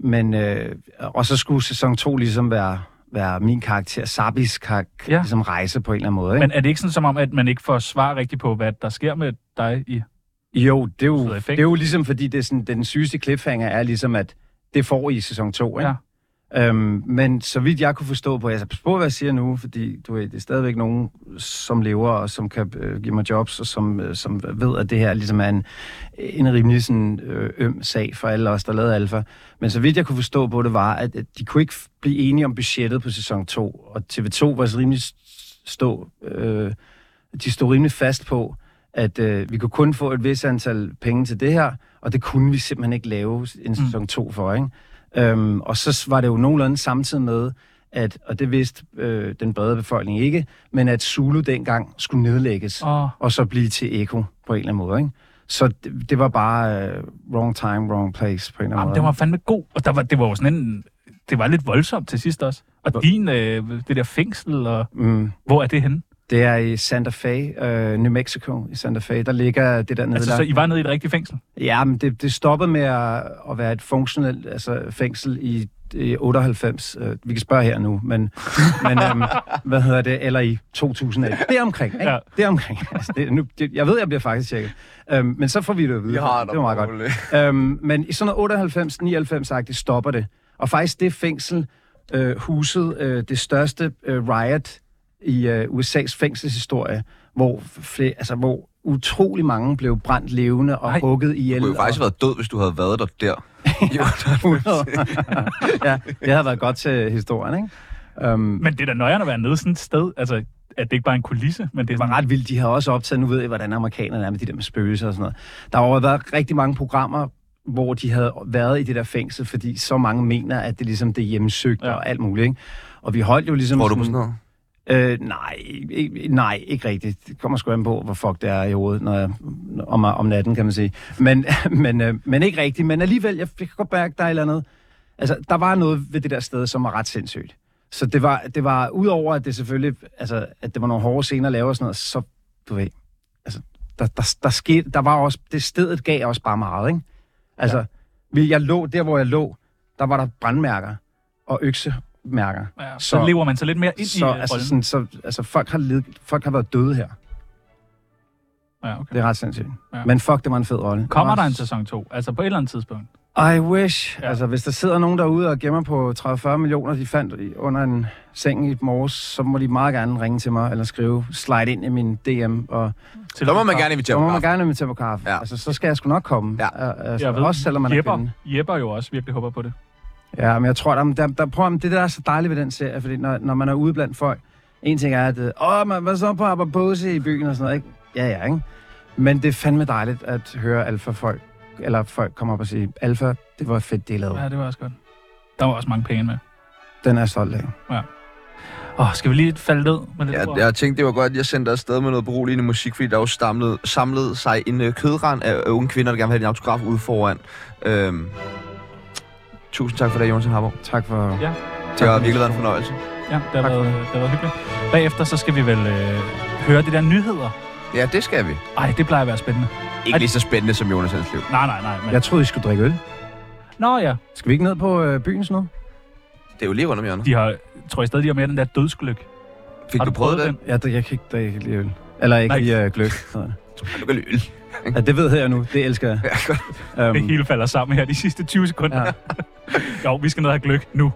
men øh, og så skulle sæson 2 ligesom være, være min karakter, Sabis karakter, Ja. ja. ligesom rejse på en eller anden måde, ikke? Men er det ikke sådan som om, at man ikke får svar rigtigt på, hvad der sker med dig i... Jo, det er sidder i jo, fængsel. det er jo ligesom, fordi det er sådan, den sygeste cliffhanger er ligesom, at det får I i sæson 2, ikke? Ja. Øhm, men så vidt jeg kunne forstå på, altså pas på, hvad jeg siger nu, fordi du ved, det er stadigvæk nogen, som lever og som kan øh, give mig jobs, og som, øh, som ved, at det her ligesom er en, en rimelig sådan, øh, øm sag for alle os, der lavede alfa. Men så vidt jeg kunne forstå på det var, at, at de kunne ikke f- blive enige om budgettet på sæson 2, og TV2 var så rimelig s- stå... Øh, de stod rimelig fast på, at øh, vi kunne kun få et vis antal penge til det her, og det kunne vi simpelthen ikke lave en sæson 2 for, ikke? Øhm, og så var det jo nogenlunde samtidig med, at, og det vidste øh, den brede befolkning ikke, men at Zulu dengang skulle nedlægges Åh. og så blive til Eko på en eller anden måde, ikke? Så det, det var bare øh, wrong time, wrong place på en eller anden Jamen, øh. måde. det var fandme god. Og der var, det var jo sådan en... Det var lidt voldsomt til sidst også. Og din, øh, det der fængsel, og Mm. hvor er det henne? Det er i Santa Fe, øh, New Mexico, i Santa Fe. Der ligger det der nede Altså, så I var nede i et rigtigt fængsel? Ja, men det, det stoppede med at, at være et funktionelt altså fængsel i, i 98. Øh, Vi kan spørge her nu, men, men øhm, hvad hedder det? Eller i 2001. Det er omkring, ikke? Ja. Ja. Det er omkring. Altså, det, nu, det, jeg ved, jeg bliver faktisk tjekket. Øhm, men så får vi det at vide. Jeg har det var meget godt. Ole. Øhm, men i sådan noget 98-99-agtigt stopper det. Og faktisk det fængsel øh, husede øh, det største øh, riot i øh, USA's fængselshistorie, hvor, fle- altså, hvor utrolig mange blev brændt levende og Ej. Ej. hugget ihjel. Du kunne jo og- faktisk have været død, hvis du havde været der der. Jo, ja, det har været godt til historien, ikke? Um, Men det er da nøjeren at være nede sådan et sted. Altså, at det ikke bare er en kulisse, men det er det var sådan, ret vildt. De har også optaget, nu ved jeg, hvordan amerikanerne er med de der med spøgelser og sådan noget. Der har jo været rigtig mange programmer, hvor de havde været i det der fængsel, fordi så mange mener, at det ligesom det er hjemsøgt Ja. ja. og alt muligt, ikke? Og vi holdt jo ligesom... Tror du på sådan- sådan noget? Øh, nej, ikke, nej, ikke rigtigt. Det kommer sgu an på, hvor fuck det er i hovedet når jeg, om, om natten, kan man sige. Men, men, øh, men ikke rigtigt. Men alligevel, jeg fik godt mærke, der er et eller andet. Altså, der var noget ved det der sted, som var ret sindssygt. Så det var, det var udover, at det selvfølgelig, altså, at det var nogle hårde scener at lave og sådan noget, så, du ved, altså, der, der, der, skete, der var også, det stedet gav også bare meget, ikke? Altså, ja. vi, jeg lå, der hvor jeg lå, der var der brandmærker og øksemærker. ja, så, så lever man så lidt mere ind i Så, øh, altså, rollen. sådan, så, altså folk, har led, folk har været døde her. Ja, okay. Det er ret sindssygt. Ja. Ja. Men fuck, det var en fed rolle. Kommer Og- der en sæson 2? Altså på et eller andet tidspunkt? I wish. Ja. Ja. Altså, hvis der sidder nogen derude og gemmer på 30-40 millioner, de fandt i- under en seng i morges, så må de meget gerne ringe til mig eller skrive, slide ind i min DM, og Til Så må man gerne invitere så mig. må man gerne invitere på kaffe. Ja. Ja. Altså, så skal jeg sgu nok komme. Ja. Altså, Jeg ved, også selvom man er Jepper, kvinde. Jepper jo også virkelig håber på det. Ja, men jeg tror, der, der, der, prøv, at- det der er så dejligt ved den serie, fordi når, når man er ude blandt folk, en ting er, at øh, åh, man, hvad så på Ababose i byen og sådan noget, ikke? Ja, ja, ikke? Men det er fandme dejligt at høre alfa-folk, eller folk kommer op og sige, alfa, det var fedt, det I lavede. Ja, det var også godt. Der var også mange penge med. Den er jeg stolt af. Åh, skal vi lige falde ned med lidt ord? Jeg, jeg tænkte, det var godt, at jeg sendte dig afsted med noget beroligende musik, fordi der jo samlede, samlede sig en øh, kødrand af øh, unge kvinder, der gerne vil have en autograf ude foran. Øhm, tusind tak for det, Jonas Harbo. Tak for... Ja. Det har virkelig været en fornøjelse. Ja, det har, Tak for været, det har været hyggeligt. Bagefter så skal vi vel øh, høre det der nyheder. Ja, det skal vi. Ej, det plejer at være spændende. Ikke lige så spændende som Jonas' hans liv. Nej, nej, nej. Men... Jeg troede, I skulle drikke øl. Nå ja, Skal vi ikke ned på øh, byen sådan noget? Det er jo lige rundt om hjørnet. de har, tror jeg stadig, de har med den der dødsgløk. Fik Har du prøvet det? Jeg, drik- jeg kan ikke drikke lige øl. Eller ikke Nej. lige øh, gløk. Du kan lyde. ja, det ved jeg nu. Det elsker jeg. Ja, godt. Um, Det hele falder sammen her de sidste 20 sekunder. Ja. Ja. jo, vi skal ned og have gløk nu.